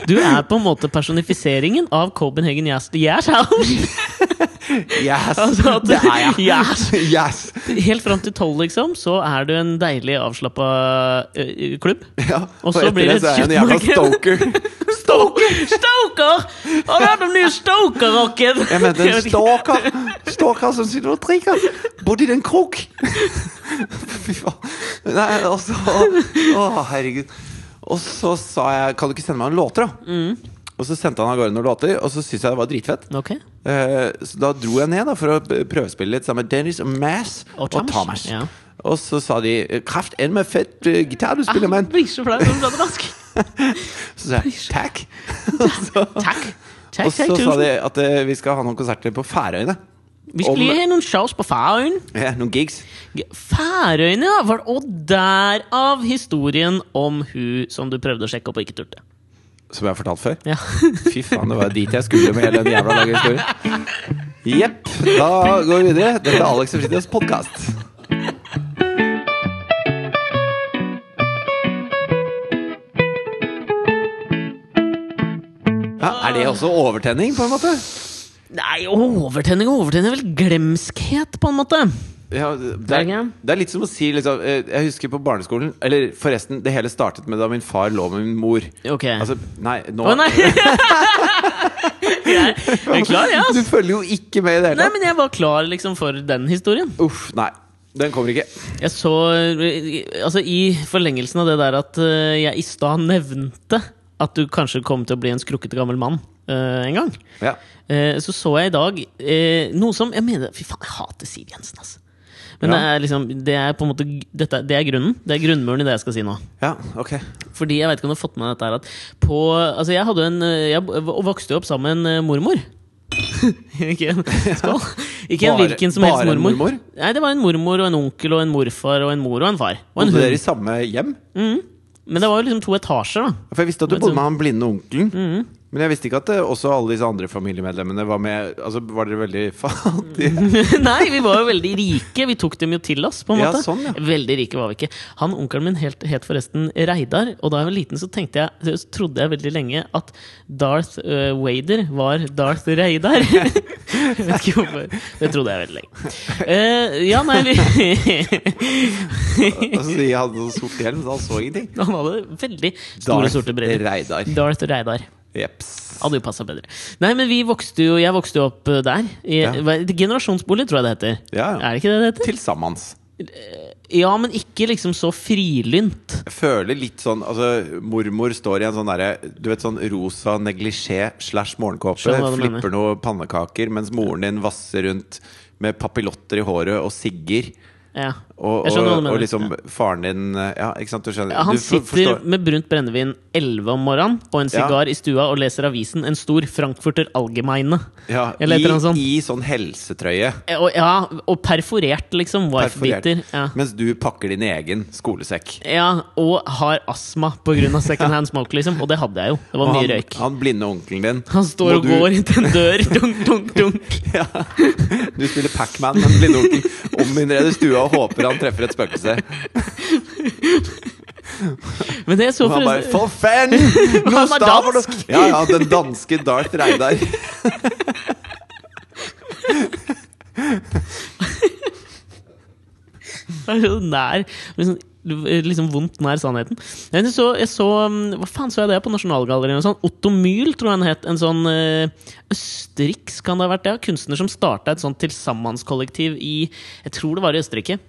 [SPEAKER 1] du er på en måte personifiseringen av Copenhagen Jazz, jazz House!
[SPEAKER 2] Yes!
[SPEAKER 1] Altså at-
[SPEAKER 2] det er jeg!
[SPEAKER 1] Yes.
[SPEAKER 2] Yes!
[SPEAKER 1] Helt fram til tolv, liksom, så er du en deilig avslappa ø, ø, klubb.
[SPEAKER 2] Ja,
[SPEAKER 1] Og
[SPEAKER 2] for
[SPEAKER 1] så
[SPEAKER 2] etter
[SPEAKER 1] blir det
[SPEAKER 2] så er jeg en jævla stoker.
[SPEAKER 1] Stoker! Stoker! Har du hørt om nye Stoker-rocken?
[SPEAKER 2] Jeg mente en
[SPEAKER 1] vet ikke.
[SPEAKER 2] stalker! Stalker som sitter og drikker! Bodde i den krok! Fy faen. Nei, altså Å, herregud. Og så sa jeg Kan du ikke sende meg noen låter, da?
[SPEAKER 1] Mm.
[SPEAKER 2] Og så sendte han av gårde noen låter, og så syntes jeg det var dritfett.
[SPEAKER 1] Ok.
[SPEAKER 2] Eh, så da dro jeg ned da for å b- prøvespille litt sammen med Dennis og Mass
[SPEAKER 1] Og
[SPEAKER 2] og
[SPEAKER 1] Thomas,
[SPEAKER 2] Thomas.
[SPEAKER 1] ja.
[SPEAKER 2] Og så sa de eh, 'Kraft enn med fett eh, gitar du spiller,
[SPEAKER 1] Jeg
[SPEAKER 2] mann'.
[SPEAKER 1] Ah, blir så flau når du prater dansk.
[SPEAKER 2] Så sa jeg 'takk'. og så,
[SPEAKER 1] Takk. Takk,
[SPEAKER 2] og så
[SPEAKER 1] takk,
[SPEAKER 2] sa
[SPEAKER 1] tusen.
[SPEAKER 2] de at eh, vi skal ha noen konserter på Færøyene.
[SPEAKER 1] Vi skulle
[SPEAKER 2] om-
[SPEAKER 1] ha noen shows på Færøyene.
[SPEAKER 2] Ja, noen gigs.
[SPEAKER 1] Færøyene, ja! Var, og derav historien om hun som du prøvde å sjekke opp og ikke turte.
[SPEAKER 2] Som jeg har fortalt før.
[SPEAKER 1] Ja.
[SPEAKER 2] Fy faen, det var dit jeg skulle med hele den jævla lange historien. Jepp. Da går vi videre. Dette er Alex og Fridtjofs podkast. Ja, er det også overtenning, på en måte?
[SPEAKER 1] Nei, overtenning og overtenning er vel glemskhet, på en måte.
[SPEAKER 2] Ja, det, er,
[SPEAKER 1] Ikke?
[SPEAKER 2] det er litt som å si liksom, eh, Jeg husker på barneskolen Eller forresten, det hele startet med da min far lå med min mor.
[SPEAKER 1] Ok.
[SPEAKER 2] Altså, nei, nå
[SPEAKER 1] Å nei! jeg er klar, jeg,
[SPEAKER 2] Du
[SPEAKER 1] altså.
[SPEAKER 2] følger jo ikke med i det hele
[SPEAKER 1] Nei,
[SPEAKER 2] tatt.
[SPEAKER 1] men jeg var klar liksom for den historien.
[SPEAKER 2] Uff, nei. Den kommer ikke.
[SPEAKER 1] Jeg så eh, Altså, i forlengelsen av det der at eh, jeg i stad nevnte at du kanskje kom til å bli en skrukkete gammel mann eh, en gang,
[SPEAKER 2] Ja.
[SPEAKER 1] eh, så så jeg i dag eh, noe som Jeg mener, fy faen, jeg hater Siv Jensen, altså. Men
[SPEAKER 2] Ja.
[SPEAKER 1] det er liksom Det er på en måte dette, Det er grunnen. Det er grunnmuren i det jeg skal si nå.
[SPEAKER 2] Ja, ok.
[SPEAKER 1] Fordi jeg vet ikke om du har fått med deg dette her at på, altså jeg, hadde en, eh, jeg v- vokste jo opp sammen med en eh, mormor. ikke en, skål. Ikke en
[SPEAKER 2] Bare-
[SPEAKER 1] hvilken som helst
[SPEAKER 2] bare en
[SPEAKER 1] mormor.
[SPEAKER 2] mormor?
[SPEAKER 1] Nei, det var en mormor og en onkel og en morfar og en mor og en far. Og en
[SPEAKER 2] Bodde dere i
[SPEAKER 1] hund.
[SPEAKER 2] samme hjem?
[SPEAKER 1] Men det var jo liksom to etasjer, da.
[SPEAKER 2] For jeg visste at du bodde med han blinde onkelen.
[SPEAKER 1] Mm.
[SPEAKER 2] Men jeg visste ikke at eh, også alle disse andre familiemedlemmene var med. Altså, Var dere veldig fattige?
[SPEAKER 1] Nei, vi var jo veldig rike. Vi tok dem jo til oss, på en
[SPEAKER 2] Ja,
[SPEAKER 1] måte.
[SPEAKER 2] sånn, ja.
[SPEAKER 1] Veldig rike var vi ikke. Han onkelen min helt, het forresten Reidar, og da jeg var liten, så tenkte jeg, så trodde jeg veldig lenge at Darth eh, Wader var Darth Reidar. jeg vet ikke hvorfor. Det trodde jeg veldig lenge. Eh, ja, nei vi-
[SPEAKER 2] Og så sier han sånn sort hjelm, så han så ingenting.
[SPEAKER 1] Han hadde veldig store, sorte briller.
[SPEAKER 2] Reidar.
[SPEAKER 1] Darth Reidar.
[SPEAKER 2] Jeps.
[SPEAKER 1] Hadde jo passa bedre. Nei, men vi vokste jo, jeg vokste jo opp eh, der. I,
[SPEAKER 2] Ja.
[SPEAKER 1] hva- Generasjonsbolig, tror jeg det heter.
[SPEAKER 2] Ja, ja.
[SPEAKER 1] Er det ikke det det heter?
[SPEAKER 2] Til sammens.
[SPEAKER 1] Ja, men ikke liksom så frilynt.
[SPEAKER 2] Jeg føler litt sånn Altså, mormor står i en sånn derre Du vet sånn rosa neglisjé slash morgenkåpe,
[SPEAKER 1] Skjønner hva du
[SPEAKER 2] flipper noen pannekaker, mens moren din vasser rundt med papillotter i håret og sigger.
[SPEAKER 1] Ja.
[SPEAKER 2] Og,
[SPEAKER 1] Jeg
[SPEAKER 2] og,
[SPEAKER 1] skjønner hva du mener.
[SPEAKER 2] og liksom faren din eh, Ja, ikke sant? Du skjønner?
[SPEAKER 1] Ja, han
[SPEAKER 2] du for-
[SPEAKER 1] sitter
[SPEAKER 2] forstår-
[SPEAKER 1] med brunt brennevin 11 om morgenen og en
[SPEAKER 2] Ja.
[SPEAKER 1] sigar i stua og leser avisen. En stor Frankfurter Allgemeine.
[SPEAKER 2] ja,
[SPEAKER 1] Eller et
[SPEAKER 2] i,
[SPEAKER 1] eller annet sånt.
[SPEAKER 2] I sånn helsetrøye.
[SPEAKER 1] Eh, Og, ja, og perforert, liksom.
[SPEAKER 2] Perforert.
[SPEAKER 1] Wife-biter. Ja.
[SPEAKER 2] Mens du pakker din egen skolesekk.
[SPEAKER 1] ja, og har astma pga. second hand smoke, liksom. Og det hadde jeg jo. Det var
[SPEAKER 2] Og
[SPEAKER 1] mye
[SPEAKER 2] han,
[SPEAKER 1] røyk.
[SPEAKER 2] han blinde onkelen din
[SPEAKER 1] Han står
[SPEAKER 2] må
[SPEAKER 1] og går inntil en dør. Dunk, dunk, dunk.
[SPEAKER 2] ja, Du spiller Pac-Man med en blinde onkel ominnreder stua og håper han treffer et spøkelse.
[SPEAKER 1] Men det jeg så
[SPEAKER 2] Og han bare
[SPEAKER 1] forresten-
[SPEAKER 2] 'For fan! Nå
[SPEAKER 1] Han var
[SPEAKER 2] staver du!»
[SPEAKER 1] dansk!
[SPEAKER 2] Ja, ja, den danske Darth Reidar.
[SPEAKER 1] Det er jo nær liksom, liksom vondt nær sannheten. Men jeg så, jeg så um, Hva faen så jeg det på Nasjonalgalleriet? og Sånn. Otto Myhl, tror jeg han het. En sånn uh, østerriksk kan det ha vært det? ja, Kunstner som starta et sånt tilsammenskollektiv i Jeg tror det var i Østerrike.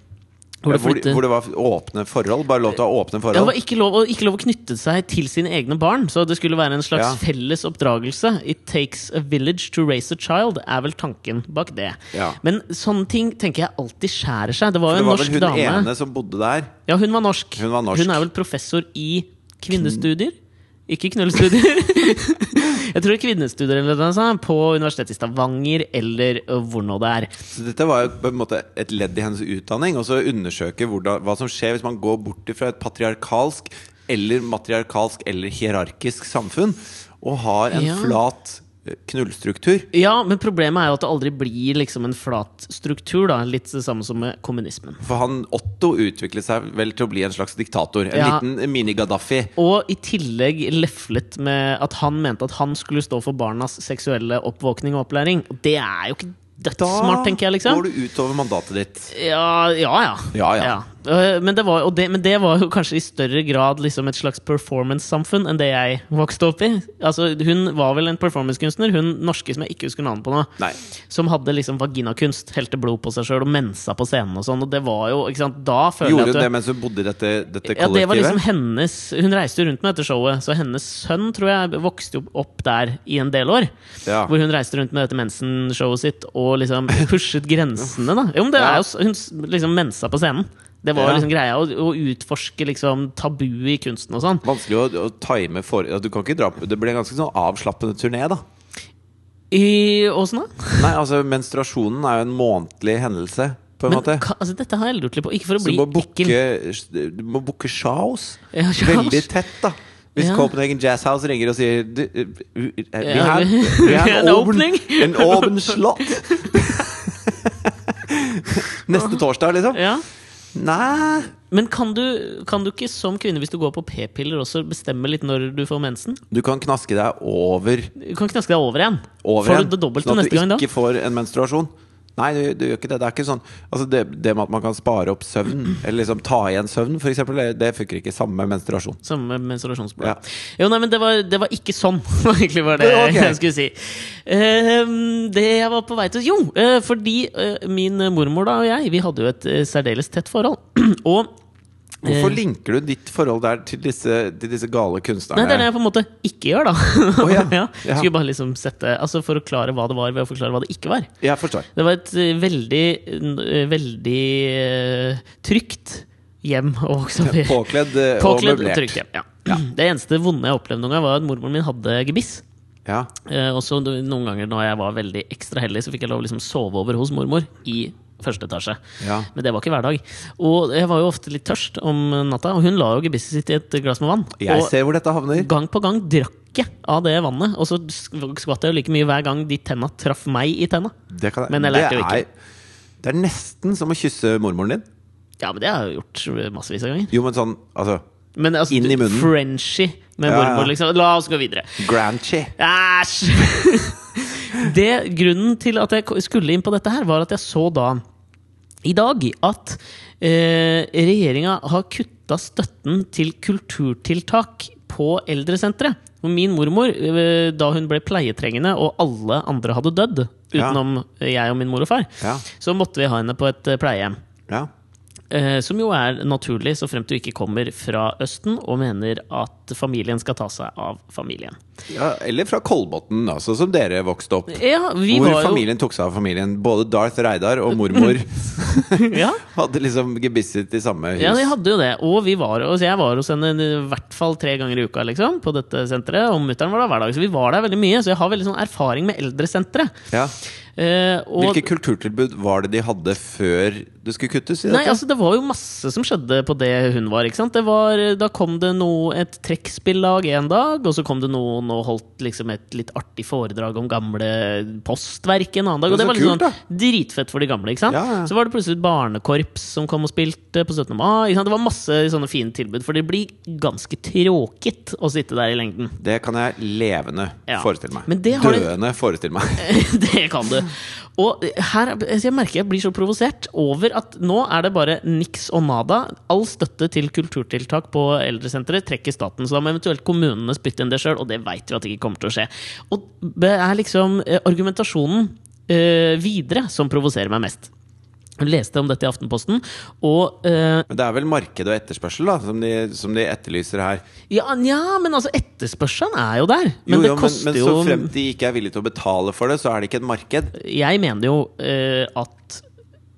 [SPEAKER 2] Hvor,
[SPEAKER 1] Hvor det, flyttet-
[SPEAKER 2] hvor det var åpne forhold. Bare lov til å ha åpne
[SPEAKER 1] ja, det
[SPEAKER 2] forhold.
[SPEAKER 1] var ikke lov, å- ikke lov å knytte seg til sine egne barn, så det skulle være en slags
[SPEAKER 2] Ja.
[SPEAKER 1] felles oppdragelse. It takes a village to raise a child, er vel tanken bak det.
[SPEAKER 2] Ja.
[SPEAKER 1] Men sånne ting tenker jeg alltid skjærer seg. Det var
[SPEAKER 2] Det
[SPEAKER 1] jo en
[SPEAKER 2] var vel
[SPEAKER 1] norsk
[SPEAKER 2] hun
[SPEAKER 1] dame.
[SPEAKER 2] ene som bodde der.
[SPEAKER 1] Ja, hun var norsk.
[SPEAKER 2] Hun var norsk.
[SPEAKER 1] er vel professor i kvinnestudier. Ikke knullestudier. jeg tror det er kvinnestudier eller noe sånt, på Universitetet i Stavanger eller øh, hvor nå det er.
[SPEAKER 2] Så dette var jo på en måte et ledd i hennes utdanning. Og så undersøke hvordan, hva som skjer hvis man går bort fra et patriarkalsk eller matriarkalsk eller hierarkisk samfunn og har en
[SPEAKER 1] Ja.
[SPEAKER 2] flat eh, knullstruktur.
[SPEAKER 1] Ja, men problemet er jo at det aldri blir liksom en flat struktur. da Litt det samme som med kommunismen.
[SPEAKER 2] For han Otto utviklet seg vel til å bli en slags diktator. En
[SPEAKER 1] Ja.
[SPEAKER 2] liten mini-Gaddafi.
[SPEAKER 1] Og i tillegg leflet med at han mente at han skulle stå for barnas seksuelle oppvåkning og opplæring. Og Det er jo ikke dødssmart, tenker jeg. liksom
[SPEAKER 2] går du utover mandatet ditt.
[SPEAKER 1] Ja, ja. ja.
[SPEAKER 2] Ja, ja.
[SPEAKER 1] Øh, Men, det var, og det, men det var jo kanskje i større grad liksom et slags performance-samfunn enn det jeg vokste opp i. Altså, hun var vel en performancekunstner, hun norske som jeg ikke husker navnet på nå,
[SPEAKER 2] Nei.
[SPEAKER 1] som hadde liksom vaginakunst, helte blod på seg sjøl og mensa på scenen og sånn. Og det var jo, ikke sant, da føler
[SPEAKER 2] Gjorde
[SPEAKER 1] jeg
[SPEAKER 2] hun
[SPEAKER 1] at
[SPEAKER 2] det
[SPEAKER 1] du-
[SPEAKER 2] mens hun bodde i dette,
[SPEAKER 1] ja,
[SPEAKER 2] dette
[SPEAKER 1] det var
[SPEAKER 2] kollektivet?
[SPEAKER 1] liksom hennes Hun reiste jo rundt med dette showet, så hennes sønn tror jeg vokste jo opp der i en del år.
[SPEAKER 2] Ja.
[SPEAKER 1] Hvor hun reiste rundt med dette mensenshowet sitt og liksom pushet grensene. da Jo, men det
[SPEAKER 2] Ja.
[SPEAKER 1] er jo s- Hun s- liksom mensa på scenen. Det var
[SPEAKER 2] Ja.
[SPEAKER 1] jo liksom greia å, å utforske liksom tabuet i kunsten og sånn.
[SPEAKER 2] Vanskelig å, å time for... Ja, du kan ikke dra på Det ble en ganske sånn avslappende turné, da.
[SPEAKER 1] I åssen da?
[SPEAKER 2] Nei, altså menstruasjonen er jo en månedlig hendelse, på en
[SPEAKER 1] Men,
[SPEAKER 2] måte.
[SPEAKER 1] ka, altså, dette har jeg lurt litt på. Ikke for å
[SPEAKER 2] Så
[SPEAKER 1] bli
[SPEAKER 2] du må
[SPEAKER 1] ekkel.
[SPEAKER 2] booke, du må booke shows
[SPEAKER 1] Ja, shows.
[SPEAKER 2] veldig tett, da. Hvis
[SPEAKER 1] Ja.
[SPEAKER 2] Copenhagen Jazz House ringer og sier du, eh, Vi
[SPEAKER 1] Ja,
[SPEAKER 2] har
[SPEAKER 1] vi-
[SPEAKER 2] vi har
[SPEAKER 1] vi har
[SPEAKER 2] en
[SPEAKER 1] en
[SPEAKER 2] åpen
[SPEAKER 1] åpning.
[SPEAKER 2] En åpen slott! Neste torsdag, liksom?
[SPEAKER 1] Ja.
[SPEAKER 2] Nei
[SPEAKER 1] Men kan du, kan du ikke som kvinne, hvis du går på p-piller, også bestemme litt når du får mensen?
[SPEAKER 2] Du kan knaske deg over
[SPEAKER 1] Du kan knaske deg over igjen.
[SPEAKER 2] over
[SPEAKER 1] får
[SPEAKER 2] en,
[SPEAKER 1] du det dobbelte
[SPEAKER 2] sånn at
[SPEAKER 1] neste gang
[SPEAKER 2] du
[SPEAKER 1] da?
[SPEAKER 2] ikke får en menstruasjon. Nei, du, du gjør ikke det. Det er ikke sånn Altså det, det med at man kan spare opp søvn, eller liksom ta igjen søvn, f.eks., det, det funker ikke. Samme med menstruasjon.
[SPEAKER 1] Samme menstruasjonsblod.
[SPEAKER 2] Ja.
[SPEAKER 1] Jo, nei, men det var, det var ikke sånn, egentlig, var det
[SPEAKER 2] Ok.
[SPEAKER 1] jeg skulle si. Ehm, det jeg var på vei til Jo, eh, fordi eh, min mormor da og jeg, vi hadde jo et eh, særdeles tett forhold. og
[SPEAKER 2] Hvorfor
[SPEAKER 1] Eh.
[SPEAKER 2] linker du ditt forhold der til disse, til disse gale kunstnerne?
[SPEAKER 1] Nei, det er det jeg på en måte ikke gjør, da.
[SPEAKER 2] ja.
[SPEAKER 1] ja.
[SPEAKER 2] Ja.
[SPEAKER 1] Skulle bare liksom sette Altså forklare hva det var, ved å forklare hva det ikke var.
[SPEAKER 2] Jeg forstår.
[SPEAKER 1] Det var et eh, veldig, eh, veldig eh, trygt hjem å vokse opp i.
[SPEAKER 2] Påkledd, eh,
[SPEAKER 1] Påkledd og
[SPEAKER 2] og møblert.
[SPEAKER 1] trygt hjem. Ja. Det eneste vonde jeg opplevde noen gang, var at mormoren min hadde gebiss.
[SPEAKER 2] Ja.
[SPEAKER 1] Eh, og så no- noen ganger når jeg var veldig ekstra heldig, så fikk jeg lov å liksom sove over hos mormor i første etasje.
[SPEAKER 2] Ja.
[SPEAKER 1] Men det var ikke hver dag. Og jeg var jo ofte litt tørst om natta, og hun la jo gebisset sitt i et glass med vann.
[SPEAKER 2] Jeg
[SPEAKER 1] og
[SPEAKER 2] ser hvor dette havner.
[SPEAKER 1] gang på gang drakk jeg av det vannet, og så sk- skvatt jeg jo like mye hver gang de tenna traff meg i tenna.
[SPEAKER 2] Det kan,
[SPEAKER 1] Men jeg lærte jo ikke.
[SPEAKER 2] Er, det er nesten som å kysse mormoren din.
[SPEAKER 1] Ja, men det har jeg jo gjort massevis av ganger.
[SPEAKER 2] Jo, men sånn altså
[SPEAKER 1] Men altså,
[SPEAKER 2] Inn i munnen.
[SPEAKER 1] Frenchy med
[SPEAKER 2] Ja, ja.
[SPEAKER 1] mormor, liksom. La oss gå videre.
[SPEAKER 2] Granchi.
[SPEAKER 1] Æsj! Det, grunnen til at jeg ko- skulle inn på dette her, var at jeg så da i dag at eh, regjeringa har kutta støtten til kulturtiltak på eldresentre. For Min mormor, eh, da hun ble pleietrengende og alle andre hadde dødd,
[SPEAKER 2] Ja.
[SPEAKER 1] utenom jeg og min mor og far,
[SPEAKER 2] Ja.
[SPEAKER 1] så måtte vi ha henne på et eh, pleiehjem.
[SPEAKER 2] Ja.
[SPEAKER 1] Eh, Som jo er naturlig, så fremt du ikke kommer fra Østen og mener at familien skal ta seg av familien.
[SPEAKER 2] ja. Eller fra Kolbotn, altså, som dere vokste opp.
[SPEAKER 1] Ja, vi
[SPEAKER 2] Hvor
[SPEAKER 1] var jo
[SPEAKER 2] familien tok seg av familien. Både Darth Reidar og mormor
[SPEAKER 1] ja,
[SPEAKER 2] hadde liksom gebisset i samme hus.
[SPEAKER 1] ja, vi hadde jo det. Og vi var, og jeg var hos henne i hvert fall tre ganger i uka liksom, på dette senteret. Og mutter'n var der hver dag, så vi var der veldig mye. Så jeg har veldig sånn erfaring med eldresentre.
[SPEAKER 2] Ja.
[SPEAKER 1] Eh, og-
[SPEAKER 2] Hvilke kulturtilbud var det de hadde før det skulle kuttes? i dette?
[SPEAKER 1] Nei, altså Det var jo masse som skjedde på det hun var. ikke sant? Det var, Da kom det noe, et trekkspillag en dag, og så kom det noen og holdt liksom et litt artig foredrag om gamle postverk en annen dag. Og
[SPEAKER 2] Men
[SPEAKER 1] det
[SPEAKER 2] så
[SPEAKER 1] var liksom
[SPEAKER 2] kult,
[SPEAKER 1] sånn dritfett for de gamle. ikke sant?
[SPEAKER 2] Ja, ja.
[SPEAKER 1] Så var det plutselig et barnekorps som kom og spilte på 17. mai. ikke sant? Det var masse sånne fine tilbud, for det blir ganske tråkigt å sitte der i lengden.
[SPEAKER 2] Det kan jeg levende
[SPEAKER 1] Ja.
[SPEAKER 2] forestille meg.
[SPEAKER 1] Men det har det-
[SPEAKER 2] Døende forestille meg.
[SPEAKER 1] det kan du. Og her, altså, jeg merker jeg blir så provosert over at nå er det bare niks og nada. All støtte til kulturtiltak på eldresenteret trekker staten, så da må eventuelt kommunene spytte inn det sjøl, og det veit vi at det ikke kommer til å skje. Og det er liksom eh, argumentasjonen eh, videre som provoserer meg mest. Jeg leste om dette i Aftenposten, og eh,
[SPEAKER 2] Men det er vel marked og etterspørsel da, som de, som de etterlyser her.
[SPEAKER 1] ja, nja, men altså, etterspørselen er jo der. Men
[SPEAKER 2] Jo,
[SPEAKER 1] det
[SPEAKER 2] jo,
[SPEAKER 1] koster
[SPEAKER 2] men, men
[SPEAKER 1] jo
[SPEAKER 2] så fremt de ikke er villige til å betale for det, så er det ikke et marked.
[SPEAKER 1] jeg mener jo eh, at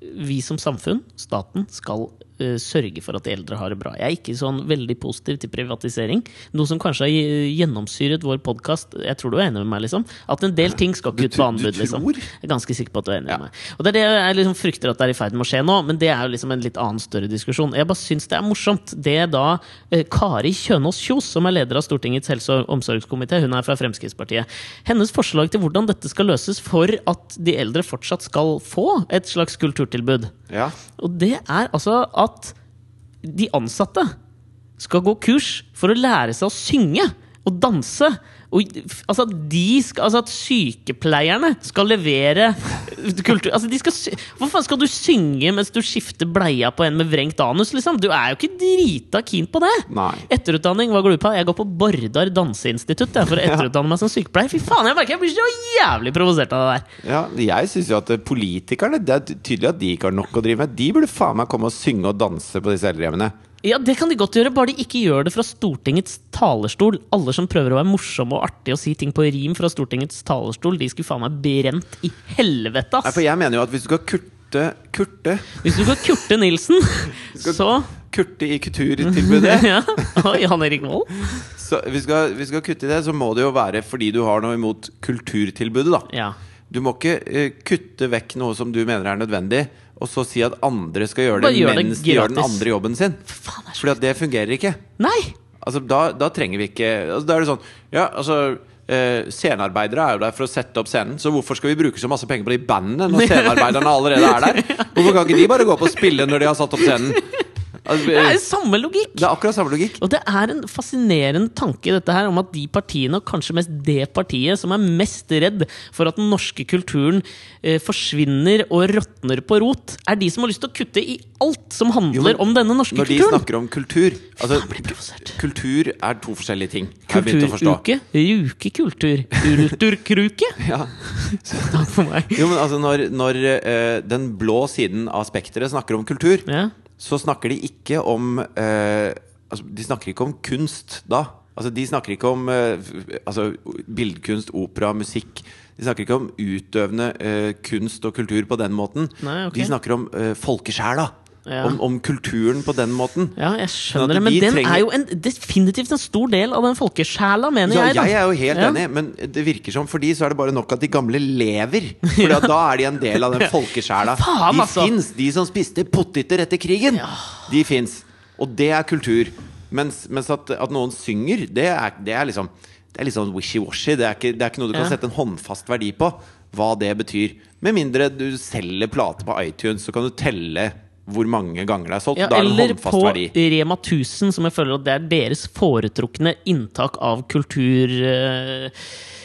[SPEAKER 1] vi som samfunn, staten, skal eh, sørge for at de eldre har det bra. Jeg er ikke sånn veldig positiv til privatisering. Noe som kanskje har eh, gjennomsyret vår podkast. Jeg tror du er enig med meg, liksom. At en del ting skal ikke ut på
[SPEAKER 2] tr- du
[SPEAKER 1] anbud, liksom.
[SPEAKER 2] tror?
[SPEAKER 1] Jeg er ganske sikker på at du er enig med meg. Og det er det jeg liksom frykter at det er i ferd med å skje nå, men det er jo liksom en litt annen større diskusjon. Jeg bare syns det er morsomt. Det da eh, Kari Kjønaas Kjos, som er leder av Stortingets helse- og omsorgskomité, hun er fra Fremskrittspartiet, hennes forslag til hvordan dette skal løses for at de eldre fortsatt skal få et slags kulturtilbud,
[SPEAKER 2] Ja.
[SPEAKER 1] og det er altså at de ansatte skal gå kurs for å lære seg å synge og danse. Og, altså, at de skal, altså at sykepleierne skal levere kultur altså de skal, sy- Hvor faen skal du synge mens du skifter bleia på en med vrengt anus? Liksom? Du er jo ikke drita keen på det!
[SPEAKER 2] Nei.
[SPEAKER 1] Etterutdanning, hva går du på? Jeg går på Bordar danseinstitutt jeg, for å etterutdanne meg som sykepleier. Fy faen, jeg merker jeg blir så jævlig provosert av det der!
[SPEAKER 2] Ja, jeg syns jo at politikerne Det er tydelig at de ikke har nok å drive med. De burde faen meg komme og synge og danse på disse eldrehjemmene.
[SPEAKER 1] Ja, det kan de godt gjøre, bare de ikke gjør det fra Stortingets talerstol. Alle som prøver å være morsomme og artige og si ting på rim fra Stortingets talerstol, de skulle faen meg brent i helvete,
[SPEAKER 2] Nei,
[SPEAKER 1] ass!
[SPEAKER 2] for jeg mener jo at hvis du skal kurte Kurte
[SPEAKER 1] Hvis du går Kurte Nilsen, så
[SPEAKER 2] Kurte i kulturtilbudet
[SPEAKER 1] ja, Og Jan Erik Vold.
[SPEAKER 2] så hvis, du skal, hvis du skal kutte i det, så må det jo være fordi du har noe imot kulturtilbudet, da.
[SPEAKER 1] Ja.
[SPEAKER 2] Du må ikke eh, kutte vekk noe som du mener er nødvendig, og så si at andre skal gjøre det
[SPEAKER 1] Bare gjør det
[SPEAKER 2] mens de gjør den
[SPEAKER 1] gratis.
[SPEAKER 2] andre jobben sin.
[SPEAKER 1] Faen, det er så
[SPEAKER 2] Fordi at det fungerer ikke.
[SPEAKER 1] Nei!
[SPEAKER 2] Altså, da, da trenger vi ikke altså, Da er det sånn Ja, altså eh, scenearbeidere er jo der for å sette opp scenen, så hvorfor skal vi bruke så masse penger på de bandene når scenearbeiderne allerede er der? Hvorfor kan ikke de bare gå opp og spille når de har satt opp scenen? Altså,
[SPEAKER 1] Det
[SPEAKER 2] eh,
[SPEAKER 1] er jo samme logikk!
[SPEAKER 2] det er akkurat samme logikk.
[SPEAKER 1] Og det er en fascinerende tanke dette her om at de partiene, og kanskje mest det partiet, som er mest redd for at den norske kulturen eh, forsvinner og råtner på rot, er de som har lyst til å kutte i alt som handler
[SPEAKER 2] Jo, men
[SPEAKER 1] om denne norske
[SPEAKER 2] Når de
[SPEAKER 1] kulturen.
[SPEAKER 2] snakker om kultur
[SPEAKER 1] Faen, jeg blir provosert.
[SPEAKER 2] Altså, kultur er to forskjellige ting. har jeg begynt å forstå.
[SPEAKER 1] Kulturuke, rukekultur, ulturkruke.
[SPEAKER 2] Ja.
[SPEAKER 1] Takk for meg.
[SPEAKER 2] Jo, men altså Når, når eh, den blå siden av spekteret snakker om kultur,
[SPEAKER 1] Ja.
[SPEAKER 2] så snakker de ikke om eh, altså, De snakker ikke om kunst da. Altså, de snakker ikke om eh, f- altså, billedkunst, opera, musikk. De snakker ikke om utøvende eh, kunst og kultur på den måten.
[SPEAKER 1] Nei, ok.
[SPEAKER 2] De snakker om eh, folkesjela.
[SPEAKER 1] Ja.
[SPEAKER 2] Om, om kulturen på den måten.
[SPEAKER 1] ja, jeg
[SPEAKER 2] Sånn at
[SPEAKER 1] skjønner det, men
[SPEAKER 2] de
[SPEAKER 1] den
[SPEAKER 2] trenger-
[SPEAKER 1] er jo en, definitivt en stor del av den folkesjela, mener
[SPEAKER 2] Så
[SPEAKER 1] jeg.
[SPEAKER 2] jeg,
[SPEAKER 1] da.
[SPEAKER 2] er jo helt
[SPEAKER 1] Ja.
[SPEAKER 2] enig, men det virker som for de så er det bare nok at de gamle lever. For da- da er de en del av den folkesjela.
[SPEAKER 1] Faen,
[SPEAKER 2] de
[SPEAKER 1] altså.
[SPEAKER 2] fins, de som spiste poteter etter krigen. De fins. Og det er kultur. Mens, mens at, at noen synger, det er, det er liksom Det er litt sånn wishy-washy. Det, er ikke- det er ikke noe du kan
[SPEAKER 1] Ja.
[SPEAKER 2] sette en håndfast verdi på. Hva det betyr. Med mindre du selger plater på iTunes, så kan du telle hvor mange ganger det er solgt.
[SPEAKER 1] Ja,
[SPEAKER 2] da er det en
[SPEAKER 1] eller
[SPEAKER 2] håndfast
[SPEAKER 1] på
[SPEAKER 2] verdi.
[SPEAKER 1] Rema 1000, som jeg føler at det er deres foretrukne inntak av kultur... eh,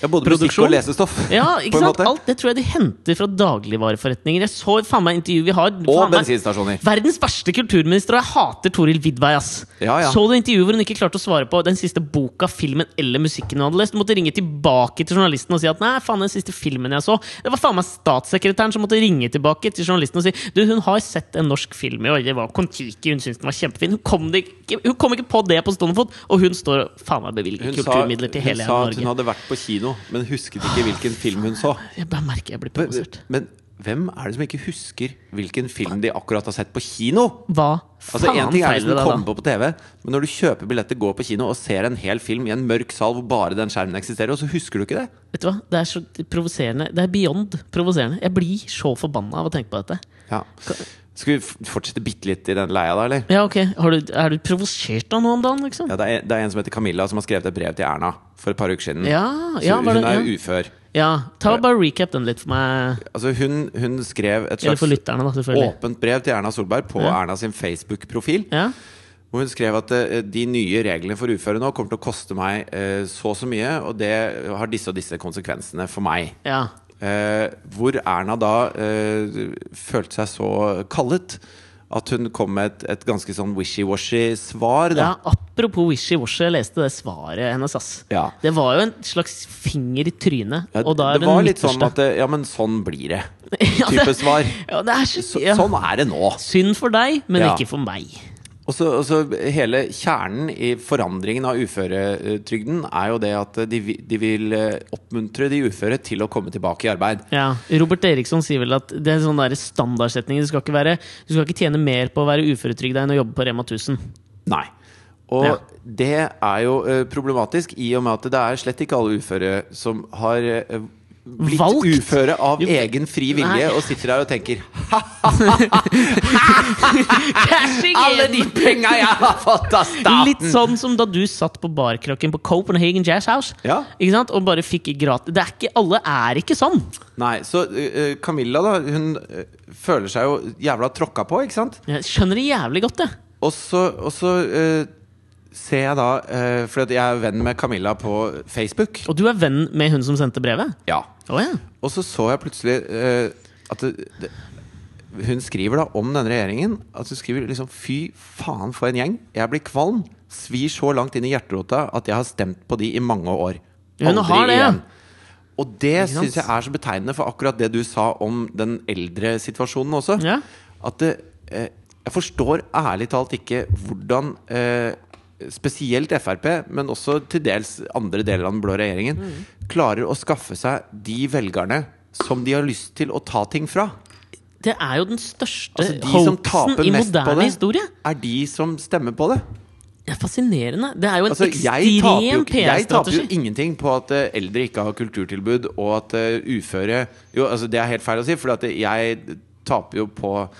[SPEAKER 2] Ja, både musikk
[SPEAKER 1] produksjon.
[SPEAKER 2] og lesestoff.
[SPEAKER 1] Ja, ikke
[SPEAKER 2] på en
[SPEAKER 1] sant?
[SPEAKER 2] måte.
[SPEAKER 1] Alt det tror jeg de henter fra dagligvareforretninger. Jeg så faen meg intervjuet vi har.
[SPEAKER 2] og
[SPEAKER 1] faen meg-
[SPEAKER 2] bensinstasjoner.
[SPEAKER 1] Verdens verste kulturminister, og jeg hater Toril Vidvei, ass.
[SPEAKER 2] Ja, ja.
[SPEAKER 1] Så du intervjuet hvor hun ikke klarte å svare på den siste boka, filmen eller musikken hun hadde lest? Du måtte ringe tilbake til journalisten og si at nei, faen, den siste filmen jeg så Det var faen meg statssekretæren som måtte ringe tilbake til journalisten og si du, hun har sett en norsk film i år, det var Kon-Tiki, hun syntes den var kjempefin. Hun kom, det ikke, hun kom ikke på det på stående fot, og hun står og faen meg bevilger
[SPEAKER 2] Hun sa, hun
[SPEAKER 1] kulturmidler til hele
[SPEAKER 2] sa at hun
[SPEAKER 1] Norge.
[SPEAKER 2] hadde vært på kino, men husket ikke hvilken film hun så.
[SPEAKER 1] Jeg bare merker jeg blir
[SPEAKER 2] Men,
[SPEAKER 1] provosert.
[SPEAKER 2] men hvem er det som ikke husker hvilken film de akkurat har sett på kino?
[SPEAKER 1] Hva
[SPEAKER 2] Altså,
[SPEAKER 1] faen
[SPEAKER 2] en ting er hvis
[SPEAKER 1] feiler det
[SPEAKER 2] den
[SPEAKER 1] da?
[SPEAKER 2] kommer på på TV, men når du kjøper billetter, går på kino og ser en hel film i en mørk sal hvor bare den skjermen eksisterer, og så husker du ikke det?
[SPEAKER 1] Vet du hva? Det er så provoserende. Det er beyond provoserende. Jeg blir så forbanna av å tenke på dette.
[SPEAKER 2] Ja. Skal vi f- fortsette bitte litt i den leia da, eller?
[SPEAKER 1] Ja, ok. Har du, er du provosert av noe om dagen, liksom?
[SPEAKER 2] Ja, det, er, det er en som heter Camilla, som har skrevet et brev til Erna for et par uker siden.
[SPEAKER 1] Ja,
[SPEAKER 2] Så
[SPEAKER 1] ja, var
[SPEAKER 2] hun
[SPEAKER 1] det, ja.
[SPEAKER 2] er jo ufør.
[SPEAKER 1] ja. Ta og bare recap den litt for meg.
[SPEAKER 2] Altså, hun, hun skrev et
[SPEAKER 1] Eller for
[SPEAKER 2] slags
[SPEAKER 1] lytterne, da, selvfølgelig.
[SPEAKER 2] åpent brev til Erna Solberg på
[SPEAKER 1] Ja.
[SPEAKER 2] Erna sin Facebook-profil.
[SPEAKER 1] Ja?
[SPEAKER 2] Hvor hun skrev at eh, de nye reglene for uføre nå kommer til å koste meg eh, så og så mye, og det har disse og disse konsekvensene for meg.
[SPEAKER 1] ja.
[SPEAKER 2] Eh, hvor Erna da eh, følte seg så kallet at hun kom med et, et ganske sånn wishy-washy svar.
[SPEAKER 1] ja
[SPEAKER 2] Da.
[SPEAKER 1] apropos wishy-washy, jeg leste det svaret hennes, ass.
[SPEAKER 2] Ja.
[SPEAKER 1] Det var jo en slags finger i trynet,
[SPEAKER 2] Ja,
[SPEAKER 1] og da er
[SPEAKER 2] det
[SPEAKER 1] det
[SPEAKER 2] var
[SPEAKER 1] den
[SPEAKER 2] litt sånn
[SPEAKER 1] midterste.
[SPEAKER 2] at eh, Ja, men sånn blir det.
[SPEAKER 1] Ja, det-
[SPEAKER 2] Type svar.
[SPEAKER 1] Ja, det er så,
[SPEAKER 2] Så,
[SPEAKER 1] ja.
[SPEAKER 2] Sånn er det nå.
[SPEAKER 1] Synd for deg, men
[SPEAKER 2] Ja.
[SPEAKER 1] ikke for meg.
[SPEAKER 2] Og så, og så hele kjernen i forandringen av uføretrygden er jo det at eh, de, vi- de vil eh, oppmuntre de uføre til å komme tilbake i arbeid.
[SPEAKER 1] Ja, Robert Eriksson sier vel at det er en sånn der standardsetning. Du skal, ikke være, du skal ikke tjene mer på å være uføretrygda enn å jobbe på Rema 1000.
[SPEAKER 2] Nei. Og
[SPEAKER 1] Ja.
[SPEAKER 2] det er jo eh, problematisk i og med at det er slett ikke alle uføre som har eh, blitt
[SPEAKER 1] Valgt.
[SPEAKER 2] uføre av
[SPEAKER 1] Jo,
[SPEAKER 2] egen fri vilje
[SPEAKER 1] nei.
[SPEAKER 2] og sitter der og tenker
[SPEAKER 1] Alle de
[SPEAKER 2] penga jeg har fått av
[SPEAKER 1] Litt sånn som da du satt på barkrakken på Copenhagen Jazz House.
[SPEAKER 2] Ja.
[SPEAKER 1] Ikke sant? Og bare fikk gratis det er ikke, Alle er ikke sånn!
[SPEAKER 2] Nei, så eh, eh, Camilla, da, hun eh, føler seg jo jævla tråkka på, ikke sant?
[SPEAKER 1] Jeg skjønner det jævlig godt, det.
[SPEAKER 2] Og så, og så eh, ser jeg da eh, For at jeg er venn med Camilla på Facebook.
[SPEAKER 1] Og du er venn med hun som sendte brevet?
[SPEAKER 2] Ja.
[SPEAKER 1] Å ja.
[SPEAKER 2] Og så så jeg plutselig eh, at det, det, hun skriver da om denne regjeringen At hun skriver liksom Fy faen for en gjeng. Jeg blir kvalm. Svir så langt inn i hjerterota at jeg har stemt på de i mange år.
[SPEAKER 1] Hun
[SPEAKER 2] Aldri
[SPEAKER 1] har det, ja.
[SPEAKER 2] igjen. Og det
[SPEAKER 1] Ikke sant?
[SPEAKER 2] syns jeg er så betegnende for akkurat det du sa om den eldre situasjonen også.
[SPEAKER 1] Ja.
[SPEAKER 2] At det, eh, jeg forstår ærlig talt ikke hvordan eh, spesielt Frp, men også til dels andre deler av den blå regjeringen,
[SPEAKER 1] Mm.
[SPEAKER 2] klarer å skaffe seg de velgerne som de har lyst til å ta ting fra.
[SPEAKER 1] Det er jo den største
[SPEAKER 2] Altså De som
[SPEAKER 1] hoaxen
[SPEAKER 2] taper
[SPEAKER 1] i
[SPEAKER 2] mest på
[SPEAKER 1] moderne
[SPEAKER 2] det,
[SPEAKER 1] historie.
[SPEAKER 2] er de som stemmer på det.
[SPEAKER 1] Det er fascinerende. Det er jo en
[SPEAKER 2] Altså, jeg, taper
[SPEAKER 1] ekstrem
[SPEAKER 2] jo, ikke- jeg taper jo
[SPEAKER 1] PR-strategi.
[SPEAKER 2] ingenting på at eh, eldre ikke har kulturtilbud, og at eh, uføre Jo, altså, det er helt feil å si, for at jeg taper jo på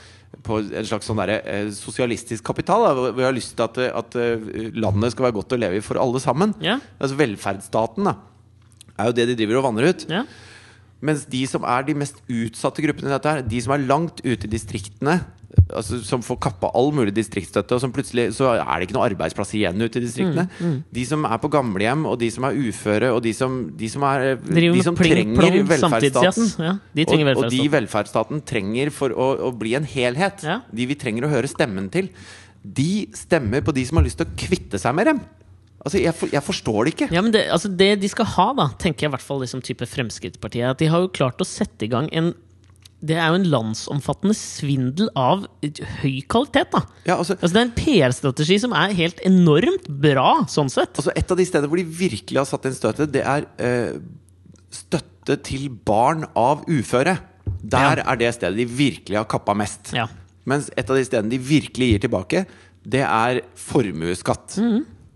[SPEAKER 2] på en slags sånn derre, eh, sosialistisk kapital. Da, hvor hvor jeg har lyst til at, eh, at eh, landet skal være godt å leve i for alle sammen.
[SPEAKER 1] Ja.
[SPEAKER 2] Altså Velferdsstaten da, er jo det de driver og vanner ut.
[SPEAKER 1] Ja.
[SPEAKER 2] Mens de som er de mest utsatte gruppene i dette her, de som er langt ute i distriktene, altså som får kappa all mulig distriktsstøtte, og som plutselig så er det ikke noen arbeidsplasser igjen ute i distriktene.
[SPEAKER 1] Mm,
[SPEAKER 2] De som er på gamlehjem, og de som er uføre, og de som, de som, er,
[SPEAKER 1] Driver
[SPEAKER 2] de
[SPEAKER 1] med
[SPEAKER 2] som
[SPEAKER 1] pling
[SPEAKER 2] trenger
[SPEAKER 1] plong
[SPEAKER 2] velferdsstaten.
[SPEAKER 1] samtidsjazz. Ja, de trenger
[SPEAKER 2] og, og de
[SPEAKER 1] velferdsstaten.
[SPEAKER 2] velferdsstaten trenger for å, å bli en helhet.
[SPEAKER 1] Ja.
[SPEAKER 2] De vi trenger å høre stemmen til. De stemmer på de som har lyst til å kvitte seg med dem. Altså, jeg, for, jeg forstår det ikke.
[SPEAKER 1] Ja, men det, altså det de skal ha, da, tenker jeg i hvert fall liksom type Fremskrittspartiet, at de har jo klart å sette i gang en Det er jo en landsomfattende svindel av høy kvalitet, da.
[SPEAKER 2] Ja, altså,
[SPEAKER 1] Altså Det er en PR-strategi som er helt enormt bra, sånn sett.
[SPEAKER 2] Altså Et av de stedene hvor de virkelig har satt inn støtet, det er eh, støtte til barn av uføre. Der er det stedet de virkelig har kappa mest.
[SPEAKER 1] Ja.
[SPEAKER 2] Mens et av de stedene de virkelig gir tilbake, det er formuesskatt.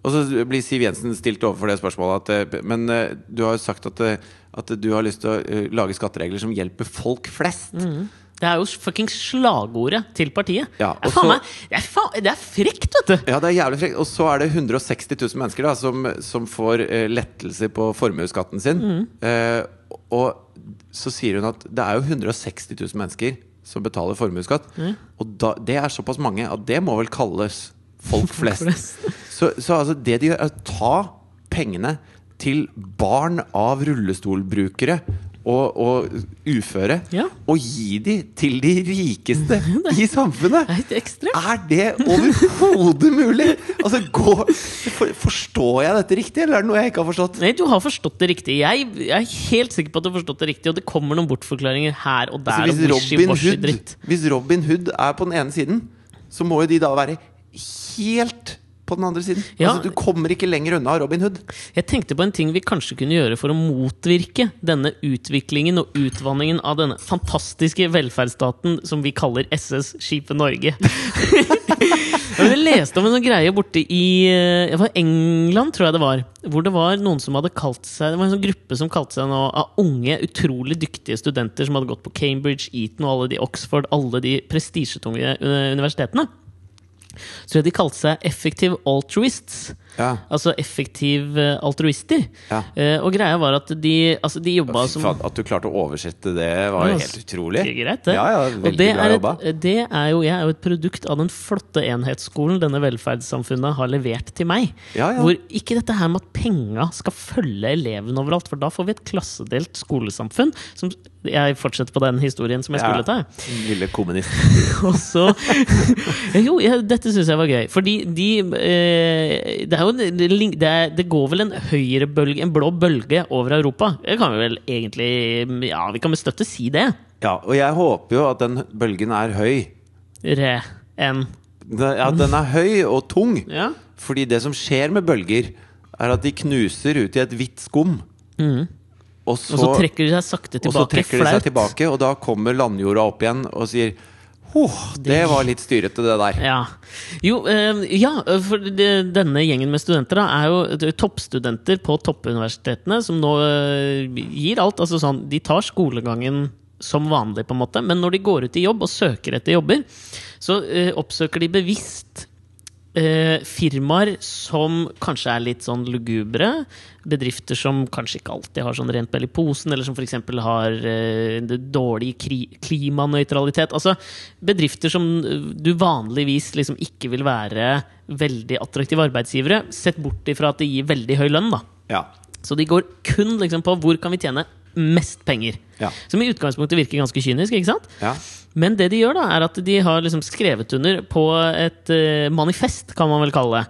[SPEAKER 2] Og så blir Siv Jensen stilt overfor det spørsmålet at eh, Men eh, du har jo sagt at, eh, at du har lyst til å eh, lage skatteregler som hjelper folk flest.
[SPEAKER 1] Det er jo fuckings slagordet til partiet.
[SPEAKER 2] Ja,
[SPEAKER 1] det,
[SPEAKER 2] og
[SPEAKER 1] er faen
[SPEAKER 2] så-
[SPEAKER 1] meg, det, er faen, det er frekt, vet du!
[SPEAKER 2] Ja, det er jævlig frekt. Og så er det 160 000 mennesker da, som, som får eh, lettelse på
[SPEAKER 1] Mm.
[SPEAKER 2] formuesskatten sin. Eh, og så sier hun at det er jo 160 000 mennesker som betaler formuesskatt.
[SPEAKER 1] Mm.
[SPEAKER 2] Og da, det er såpass mange at det må vel kalles folk flest.
[SPEAKER 1] flest.
[SPEAKER 2] så, så altså det de gjør, er å ta pengene til barn av rullestolbrukere og, og uføre,
[SPEAKER 1] Ja.
[SPEAKER 2] og gi de til de rikeste i samfunnet!
[SPEAKER 1] Det er helt ekstremt.
[SPEAKER 2] Er det overhodet mulig?! Altså, går, for, forstår jeg dette riktig, eller er det noe jeg ikke har forstått?
[SPEAKER 1] Nei, du har forstått det riktig. Jeg, jeg er helt sikker på at du har forstått det riktig, og det kommer noen bortforklaringer her og der. og
[SPEAKER 2] Altså, hvis, Robin
[SPEAKER 1] wishy-washy
[SPEAKER 2] Hood,
[SPEAKER 1] dritt.
[SPEAKER 2] hvis Robin Hood er på den ene siden, så må jo de da være helt på den andre siden.
[SPEAKER 1] Ja.
[SPEAKER 2] Altså, du kommer ikke lenger unna Robin Hood.
[SPEAKER 1] Jeg tenkte på en ting vi kanskje kunne gjøre for å motvirke denne utviklingen og utvanningen av denne fantastiske velferdsstaten som vi kaller SS Skipet Norge. Men Jeg leste om en sånn greie borte i eh, det var England, tror jeg det var. Hvor det var noen som hadde kalt seg Det var en sånn gruppe som kalte seg nå av unge, utrolig dyktige studenter som hadde gått på Cambridge, Eton og alle de Oxford, alle de prestisjetunge eh, universitetene. Så de kalte seg Effective Altruists.
[SPEAKER 2] Ja.
[SPEAKER 1] Altså effektiv eh, altruister.
[SPEAKER 2] Ja.
[SPEAKER 1] Eh, og greia var at de, altså, de jobba
[SPEAKER 2] Fy
[SPEAKER 1] som
[SPEAKER 2] faen, at du klarte å oversette det, var
[SPEAKER 1] Ja,
[SPEAKER 2] jo helt utrolig.
[SPEAKER 1] Det er greit, det.
[SPEAKER 2] Ja, ja,
[SPEAKER 1] Og
[SPEAKER 2] veldig
[SPEAKER 1] det
[SPEAKER 2] bra
[SPEAKER 1] er
[SPEAKER 2] jobba.
[SPEAKER 1] Et, det er jo, jeg er jo et produkt av den flotte enhetsskolen denne velferdssamfunnet har levert til meg.
[SPEAKER 2] Ja, ja.
[SPEAKER 1] Hvor ikke dette her med at penga skal følge eleven overalt, for da får vi et klassedelt skolesamfunn. Som, jeg fortsetter på den historien som jeg
[SPEAKER 2] Ja.
[SPEAKER 1] skulle ta.
[SPEAKER 2] Lille kommunist.
[SPEAKER 1] Og så Jo, ja, dette syns jeg var gøy. Fordi de eh, Det er jo en- det link- det, er, det går vel en høyrebølge, en blå bølge, over Europa. Det kan vi vel egentlig Ja, vi kan med støtte si det.
[SPEAKER 2] Ja, og jeg håper jo at den bølgen er høy.
[SPEAKER 1] Re enn
[SPEAKER 2] Den- Ja, den er høy og tung.
[SPEAKER 1] Ja.
[SPEAKER 2] Fordi det som skjer med bølger, er at de knuser ut i et hvitt skum. Og så,
[SPEAKER 1] Mm. Og så trekker de seg sakte tilbake.
[SPEAKER 2] Og så trekker de
[SPEAKER 1] flaut.
[SPEAKER 2] seg tilbake, og da kommer landjorda opp igjen og sier Huh, det var litt styrete, det der.
[SPEAKER 1] Ja. Jo, eh, ja, for det- denne gjengen med studenter da, er jo det er toppstudenter på toppuniversitetene som nå eh, gir alt. Altså sånn, de tar skolegangen som vanlig, på en måte, men når de går ut i jobb og søker etter jobber, så eh, oppsøker de bevisst eh, firmaer som kanskje er litt sånn lugubre. Bedrifter som kanskje ikke alltid har sånn rent bell i posen, eller som f.eks. har eh, det dårlig kri klimanøytralitet. Altså bedrifter som eh, du vanligvis liksom ikke vil være veldig attraktive arbeidsgivere, sett bort ifra at det gir veldig høy lønn, da.
[SPEAKER 2] Ja.
[SPEAKER 1] Så de går kun liksom på hvor kan vi tjene mest penger.
[SPEAKER 2] Ja.
[SPEAKER 1] Som i utgangspunktet virker ganske kynisk, ikke sant?
[SPEAKER 2] ja.
[SPEAKER 1] Men det de gjør, da, er at de har liksom skrevet under på et eh, manifest, kan man vel kalle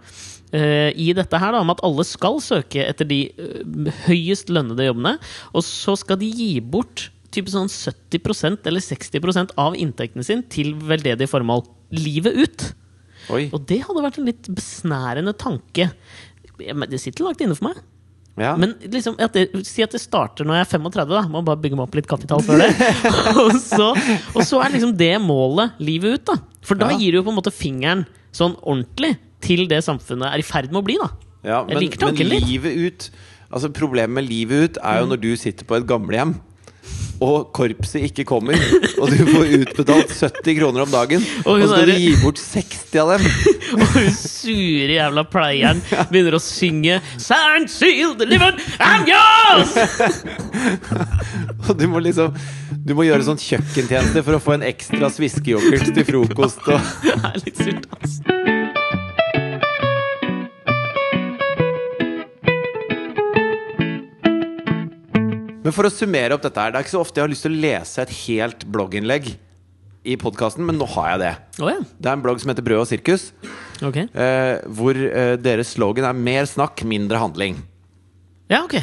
[SPEAKER 1] det. eh, I dette her da, om at alle skal søke etter de eh, høyest lønnede jobbene. Og så skal de gi bort typ sånn 70 eller 60 av inntekten sin til veldedige formål. Livet ut.
[SPEAKER 2] Oi.
[SPEAKER 1] Og det hadde vært en litt besnærende tanke. Ja, men Det sitter langt inne for meg.
[SPEAKER 2] Ja.
[SPEAKER 1] Men liksom, at det, si at det starter når jeg er 35, da. Må bare bygge meg opp litt kapital før det. og, så, og så er liksom det målet livet ut, da. For da
[SPEAKER 2] Ja.
[SPEAKER 1] gir du jo på en måte fingeren sånn ordentlig til det samfunnet er i ferd med å bli, da.
[SPEAKER 2] ja
[SPEAKER 1] jeg
[SPEAKER 2] men,
[SPEAKER 1] liker tanken
[SPEAKER 2] men
[SPEAKER 1] litt. Mm.
[SPEAKER 2] livet ut Altså Problemet med livet ut er jo når du sitter på et gamlehjem, og korpset ikke kommer, og du får utbetalt 70 kroner om dagen,
[SPEAKER 1] Og
[SPEAKER 2] og
[SPEAKER 1] hun
[SPEAKER 2] så skal
[SPEAKER 1] er-
[SPEAKER 2] du gi bort 60 av dem.
[SPEAKER 1] Og hun sure jævla pleieren begynner å synge Sign, seal, delivered, I'm yours!
[SPEAKER 2] Og du må liksom Du må gjøre sånn kjøkkentjeneste for å få en ekstra sviskeyoghurt til frokost. Og
[SPEAKER 1] Det er litt surt, ass.
[SPEAKER 2] Men for å summere opp dette her Det er ikke så ofte jeg har lyst til å lese et helt blogginnlegg i podkasten, men nå har jeg det.
[SPEAKER 1] Å ja.
[SPEAKER 2] Det er en blogg som heter Brød og sirkus,
[SPEAKER 1] Ok.
[SPEAKER 2] eh, hvor eh, deres slogan er 'mer snakk, mindre handling'.
[SPEAKER 1] Ja, ok.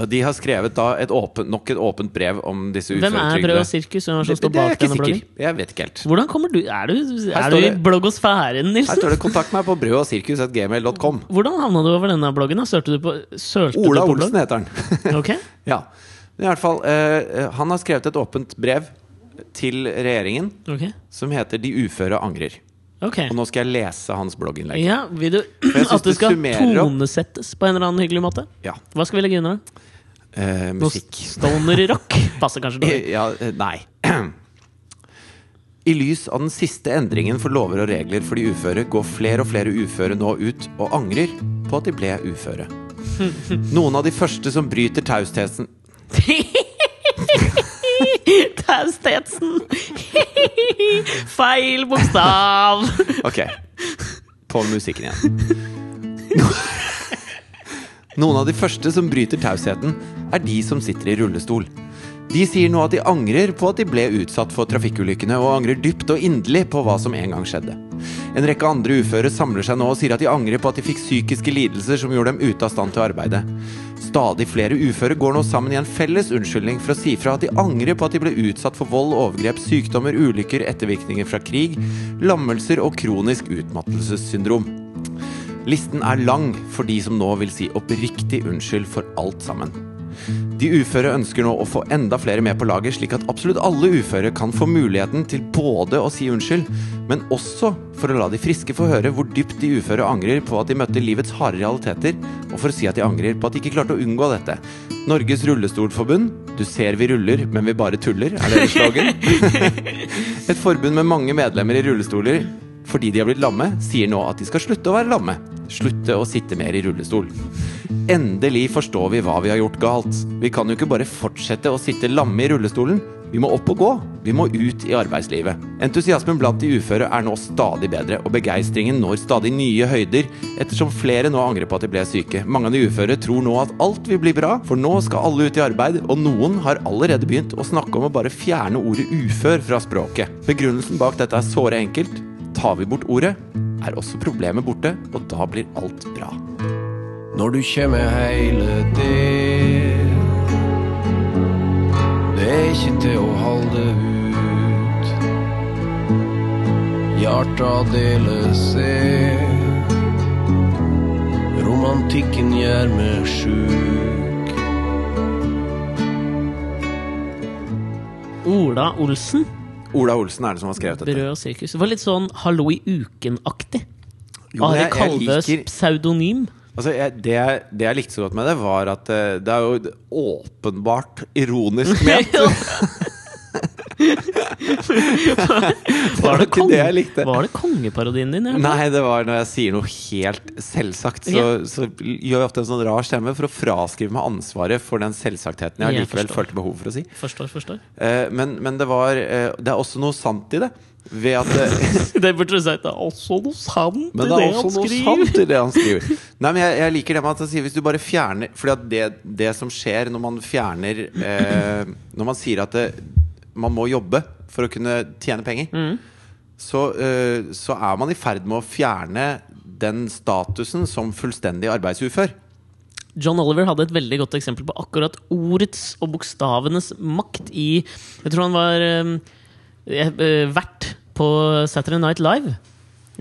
[SPEAKER 2] Og de har skrevet da et åpent, nok et åpent brev om disse
[SPEAKER 1] Hvem er Brød og
[SPEAKER 2] uføretrygdede.
[SPEAKER 1] sirkus? Hvem er det
[SPEAKER 2] Det,
[SPEAKER 1] som står
[SPEAKER 2] det er jeg
[SPEAKER 1] bak
[SPEAKER 2] ikke
[SPEAKER 1] denne bloggen?
[SPEAKER 2] sikker. Jeg vet ikke helt.
[SPEAKER 1] Hvordan kommer du Er du, er
[SPEAKER 2] står
[SPEAKER 1] du i
[SPEAKER 2] det-
[SPEAKER 1] bloggosfæren,
[SPEAKER 2] Her
[SPEAKER 1] Nilsen?
[SPEAKER 2] står det 'kontakt meg på brødogsirkus.gmail.com'.
[SPEAKER 1] Hvordan havna du over denne bloggen? da? Sølte du på sølte
[SPEAKER 2] Ola
[SPEAKER 1] du på
[SPEAKER 2] Olsen heter han.
[SPEAKER 1] Blogg? Ok.
[SPEAKER 2] Ja. Men i hvert fall, eh, eh, han har skrevet et åpent brev til regjeringen
[SPEAKER 1] ok,
[SPEAKER 2] som heter 'De uføre angrer'.
[SPEAKER 1] ok.
[SPEAKER 2] Og nå skal jeg lese hans blogginnlegg.
[SPEAKER 1] Ja, Vil du
[SPEAKER 2] jeg synes
[SPEAKER 1] at det
[SPEAKER 2] det
[SPEAKER 1] skal
[SPEAKER 2] summerer opp.
[SPEAKER 1] tonesettes på en eller annen hyggelig måte?
[SPEAKER 2] Ja.
[SPEAKER 1] Hva skal vi legge under da? Noe
[SPEAKER 2] Eh, musikk.
[SPEAKER 1] Stoner-rock passer kanskje dårlig.
[SPEAKER 2] Eh, Ja, eh, nei. I lys av den siste endringen for lover og regler for de uføre, går flere og flere uføre nå ut og angrer på at de ble uføre. Noen av de første som bryter tausheten
[SPEAKER 1] Tau Stetsen! Feil bokstav!
[SPEAKER 2] Ok. På musikken igjen. Noen av de første som bryter tausheten, er de som sitter i rullestol. De sier nå at de angrer på at de ble utsatt for trafikkulykkene, og angrer dypt og inderlig på hva som en gang skjedde. En rekke andre uføre samler seg nå og sier at de angrer på at de fikk psykiske lidelser som gjorde dem ute av stand til å arbeide. Stadig flere uføre går nå sammen i en felles unnskyldning for å si fra at de angrer på at de ble utsatt for vold, overgrep, sykdommer, ulykker, ettervirkninger fra krig, lammelser og kronisk utmattelsessyndrom. Listen er lang for de som nå vil si oppriktig unnskyld for alt sammen. De uføre ønsker nå å få enda flere med på laget, slik at absolutt alle uføre kan få muligheten til både å si unnskyld, men også for å la de friske få høre hvor dypt de uføre angrer på at de møtte livets harde realiteter, og for å si at de angrer på at de ikke klarte å unngå dette. Norges Rullestolforbund, du ser vi ruller, men vi bare tuller, er deres slogan. Et forbund med mange medlemmer i rullestoler fordi de har blitt lamme, sier nå at de skal slutte å være lamme. Slutte å sitte mer i rullestol. Endelig forstår vi hva vi har gjort galt. Vi kan jo ikke bare fortsette å sitte lamme i rullestolen. Vi må opp og gå. Vi må ut i arbeidslivet. Entusiasmen blant de uføre er nå stadig bedre, og begeistringen når stadig nye høyder, ettersom flere nå angrer på at de ble syke. Mange av de uføre tror nå at alt vil bli bra, for nå skal alle ut i arbeid, og noen har allerede begynt å snakke om å bare fjerne ordet ufør fra språket. Begrunnelsen bak dette er såre enkelt. Tar vi bort ordet, er også problemet borte, og da blir alt bra.
[SPEAKER 3] Når du kjem med heile del Det er ikke til å halde ut Hjarta deler seg Romantikken gjør meg sjuk
[SPEAKER 1] Ola Olsen,
[SPEAKER 2] Ola Olsen er det som har skrevet dette.
[SPEAKER 1] Brød og sirkus. Det var litt sånn Hallo i uken-aktig.
[SPEAKER 2] Jo, men
[SPEAKER 1] Are
[SPEAKER 2] jeg- jeg
[SPEAKER 1] Kalvøs
[SPEAKER 2] liker-
[SPEAKER 1] pseudonym.
[SPEAKER 2] Altså, jeg, det, jeg- det jeg likte så godt med det, var at eh, det er jo åpenbart ironisk ment.
[SPEAKER 1] var, det
[SPEAKER 2] ikke det jeg
[SPEAKER 1] konge-
[SPEAKER 2] likte.
[SPEAKER 1] var det kongeparodien din? eller?
[SPEAKER 2] Nei, det var når jeg sier noe helt selvsagt, så, så gjør jeg ofte en sånn rar stemme for å fraskrive meg ansvaret for den selvsagtheten
[SPEAKER 1] Jeg
[SPEAKER 2] jeg likevel
[SPEAKER 1] forstår.
[SPEAKER 2] følte behov for å si.
[SPEAKER 1] Forstår, forstår.
[SPEAKER 2] Eh, Men, men det var eh, Det er også noe sant i det. Ved at eh,
[SPEAKER 1] Det burde du sagt. Det er også noe sant i
[SPEAKER 2] Men
[SPEAKER 1] det
[SPEAKER 2] det er
[SPEAKER 1] han
[SPEAKER 2] også noe
[SPEAKER 1] skriver.
[SPEAKER 2] sant i det han skriver. Nei, men jeg, jeg liker det med at han sier hvis du bare fjerner Fordi at det, det som skjer når man fjerner eh, Når man sier at det, man må jobbe for å kunne tjene penger,
[SPEAKER 1] Mm.
[SPEAKER 2] så, eh, så er man i ferd med å fjerne den statusen som fullstendig arbeidsufør.
[SPEAKER 1] John Oliver hadde et veldig godt eksempel på akkurat ordets og bokstavenes makt i Jeg tror han var eh, eh, eh, vert på Saturday Night Live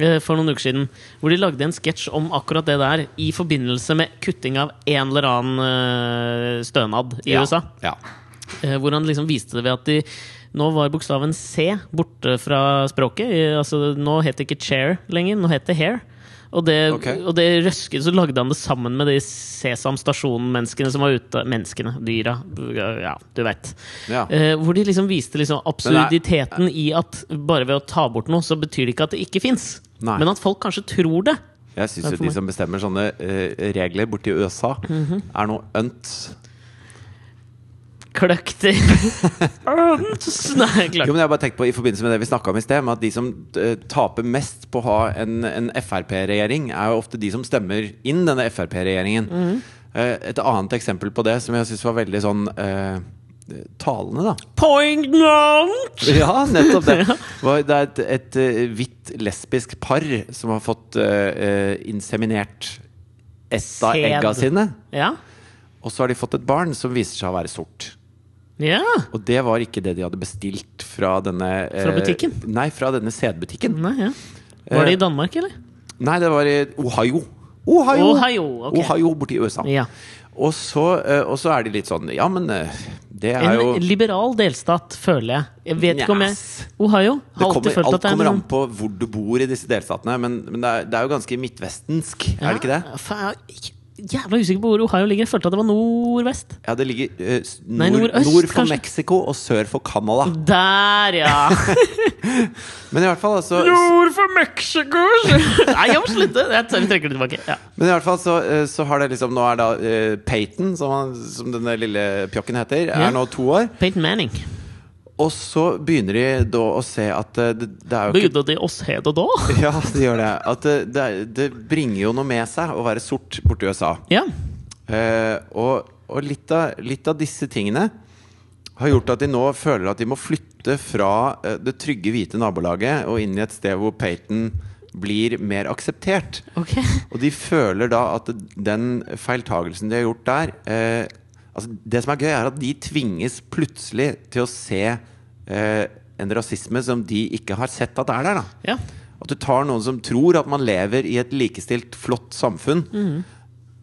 [SPEAKER 1] eh, for noen uker siden. Hvor de lagde en sketsj om akkurat det der i forbindelse med kutting av en eller annen eh, stønad i USA.
[SPEAKER 2] Ja.
[SPEAKER 1] Eh, Hvor han liksom viste det ved at de nå var bokstaven C borte fra språket. I- Altså, nå het det ikke chair lenger, nå het det hair. Og det,
[SPEAKER 2] Ok.
[SPEAKER 1] og det røsket, så lagde han det sammen med de Sesam Stasjon-menneskene som var ute. Menneskene, dyra, ja, du veit.
[SPEAKER 2] ja.
[SPEAKER 1] Eh, hvor de liksom viste liksom absurditeten i at bare ved å ta bort noe, så betyr det ikke at det ikke fins.
[SPEAKER 2] Nei.
[SPEAKER 1] Men at folk kanskje tror det.
[SPEAKER 2] Jeg syns
[SPEAKER 1] Takk for
[SPEAKER 2] jo de
[SPEAKER 1] meg. Mhm.
[SPEAKER 2] som bestemmer sånne eh, regler borti USA, er noe ønt.
[SPEAKER 1] Kløkter. Nei, klart.
[SPEAKER 2] Jo, men jeg har bare tenkt på I forbindelse med det vi snakka om i sted, med at de som eh, taper mest på å ha en, en Frp-regjering, er jo ofte de som stemmer inn denne Frp-regjeringen.
[SPEAKER 1] Mhm.
[SPEAKER 2] Eh, et annet eksempel på det som jeg syns var veldig sånn eh, talende, da.
[SPEAKER 1] Point not!
[SPEAKER 2] Ja, nettopp det. Var, det er et, et eh, hvitt lesbisk par som har fått eh, eh, inseminert ett av
[SPEAKER 1] Sæd.
[SPEAKER 2] egga sine.
[SPEAKER 1] Ja.
[SPEAKER 2] Og så har de fått et barn som viser seg å være sort.
[SPEAKER 1] ja.
[SPEAKER 2] Og det var ikke det de hadde bestilt fra denne
[SPEAKER 1] Fra
[SPEAKER 2] eh,
[SPEAKER 1] butikken?
[SPEAKER 2] Nei, fra denne sædbutikken.
[SPEAKER 1] Nei, ja. Var det
[SPEAKER 2] Eh,
[SPEAKER 1] i Danmark, eller?
[SPEAKER 2] Nei, det var i Ohio. Ohio,
[SPEAKER 1] Ohio, ok.
[SPEAKER 2] Ohio borti USA.
[SPEAKER 1] Ja.
[SPEAKER 2] Og, så, eh, og så er de litt sånn Ja, men eh, det er
[SPEAKER 1] En
[SPEAKER 2] jo
[SPEAKER 1] liberal delstat, føler jeg. Jeg vet ikke om jeg
[SPEAKER 2] Njas.
[SPEAKER 1] Ohio har
[SPEAKER 2] det
[SPEAKER 1] alltid
[SPEAKER 2] kommer,
[SPEAKER 1] følt
[SPEAKER 2] Alt
[SPEAKER 1] at det er sånn.
[SPEAKER 2] kommer an
[SPEAKER 1] noen-
[SPEAKER 2] på hvor du bor i disse delstatene, men, men det, er, det er jo ganske midtvestensk, er det ikke det?
[SPEAKER 1] Ja, faen, jeg er jævla usikker på hvor Ohio ligger. Jeg følte at det var nordvest.
[SPEAKER 2] Ja, det ligger eh, s- nord,
[SPEAKER 1] Nei, nordøst,
[SPEAKER 2] nord for
[SPEAKER 1] kanskje? Mm.
[SPEAKER 2] Mexico og sør for Canada.
[SPEAKER 1] Der, ja!
[SPEAKER 2] Men i hvert fall, altså
[SPEAKER 1] Nord for Mexico! Nei, jeg må slutte! Jeg tør- jeg trekker det tilbake. Ja.
[SPEAKER 2] Men i hvert fall så, eh, så har det liksom Nå er da eh, Peyton, som, han, som denne lille pjokken heter,
[SPEAKER 1] Ja.
[SPEAKER 2] er nå to år.
[SPEAKER 1] Peyton Manning.
[SPEAKER 2] Og så begynner de da å se at eh, det, det er jo ikke
[SPEAKER 1] Begynner de å se det da?
[SPEAKER 2] Ja, det gjør det. At det, det, er- det bringer jo noe med seg å være sort borti USA.
[SPEAKER 1] Ja.
[SPEAKER 2] Eh, og og litt, av, litt av disse tingene har gjort at de nå føler at de må flytte fra eh, det trygge, hvite nabolaget og inn i et sted hvor Peyton blir mer akseptert.
[SPEAKER 1] Ok.
[SPEAKER 2] Og de føler da at den feiltagelsen de har gjort der eh, altså Det som er gøy, er at de tvinges plutselig til å se eh, en rasisme som de ikke har sett at er der. da
[SPEAKER 1] Ja.
[SPEAKER 2] At du tar noen som tror at man lever i et likestilt, flott samfunn,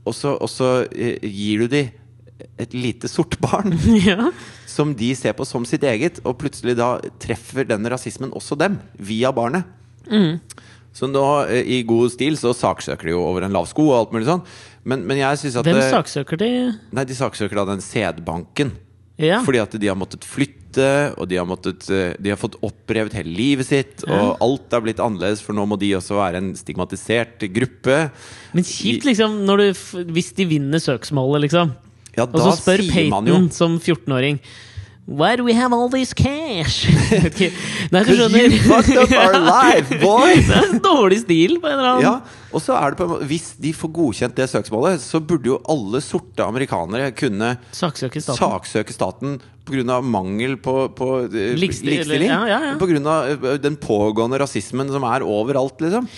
[SPEAKER 2] og så, og så eh, gir du de et lite sort barn
[SPEAKER 1] ja.
[SPEAKER 2] som de ser på som sitt eget, og plutselig da treffer den rasismen også dem, via barnet. Så nå, eh, i god stil, så saksøker de jo over en lav sko og alt mulig sånn. Men, men jeg syns at
[SPEAKER 1] Hvem
[SPEAKER 2] eh,
[SPEAKER 1] saksøker de?
[SPEAKER 2] Nei, de saksøker da den sædbanken.
[SPEAKER 1] Ja.
[SPEAKER 2] Fordi at de har måttet flytte, og de har, måttet, eh, de har fått opprevet hele livet sitt, og alt er blitt annerledes, for nå må de også være en stigmatisert gruppe.
[SPEAKER 1] Men kjipt, liksom, når du, f- hvis de vinner søksmålet, liksom.
[SPEAKER 2] Ja,
[SPEAKER 1] Og
[SPEAKER 2] da
[SPEAKER 1] så spør
[SPEAKER 2] sier man jo
[SPEAKER 1] Peyton som 14-åring Why do we have all this cash? Ok. Nei, du
[SPEAKER 2] Because you
[SPEAKER 1] skjønner.
[SPEAKER 2] fucked up our life, boy!
[SPEAKER 1] Det er en dårlig stil på en eller annen
[SPEAKER 2] Ja, og så er det på en måte Hvis de får godkjent det søksmålet, så burde jo alle sorte amerikanere kunne
[SPEAKER 1] saksøker staten.
[SPEAKER 2] saksøke staten pga. mangel på, på eh,
[SPEAKER 1] Likestil-
[SPEAKER 2] likestilling.
[SPEAKER 1] ja, ja, ja.
[SPEAKER 2] Pga. eh, den pågående rasismen som er overalt, liksom.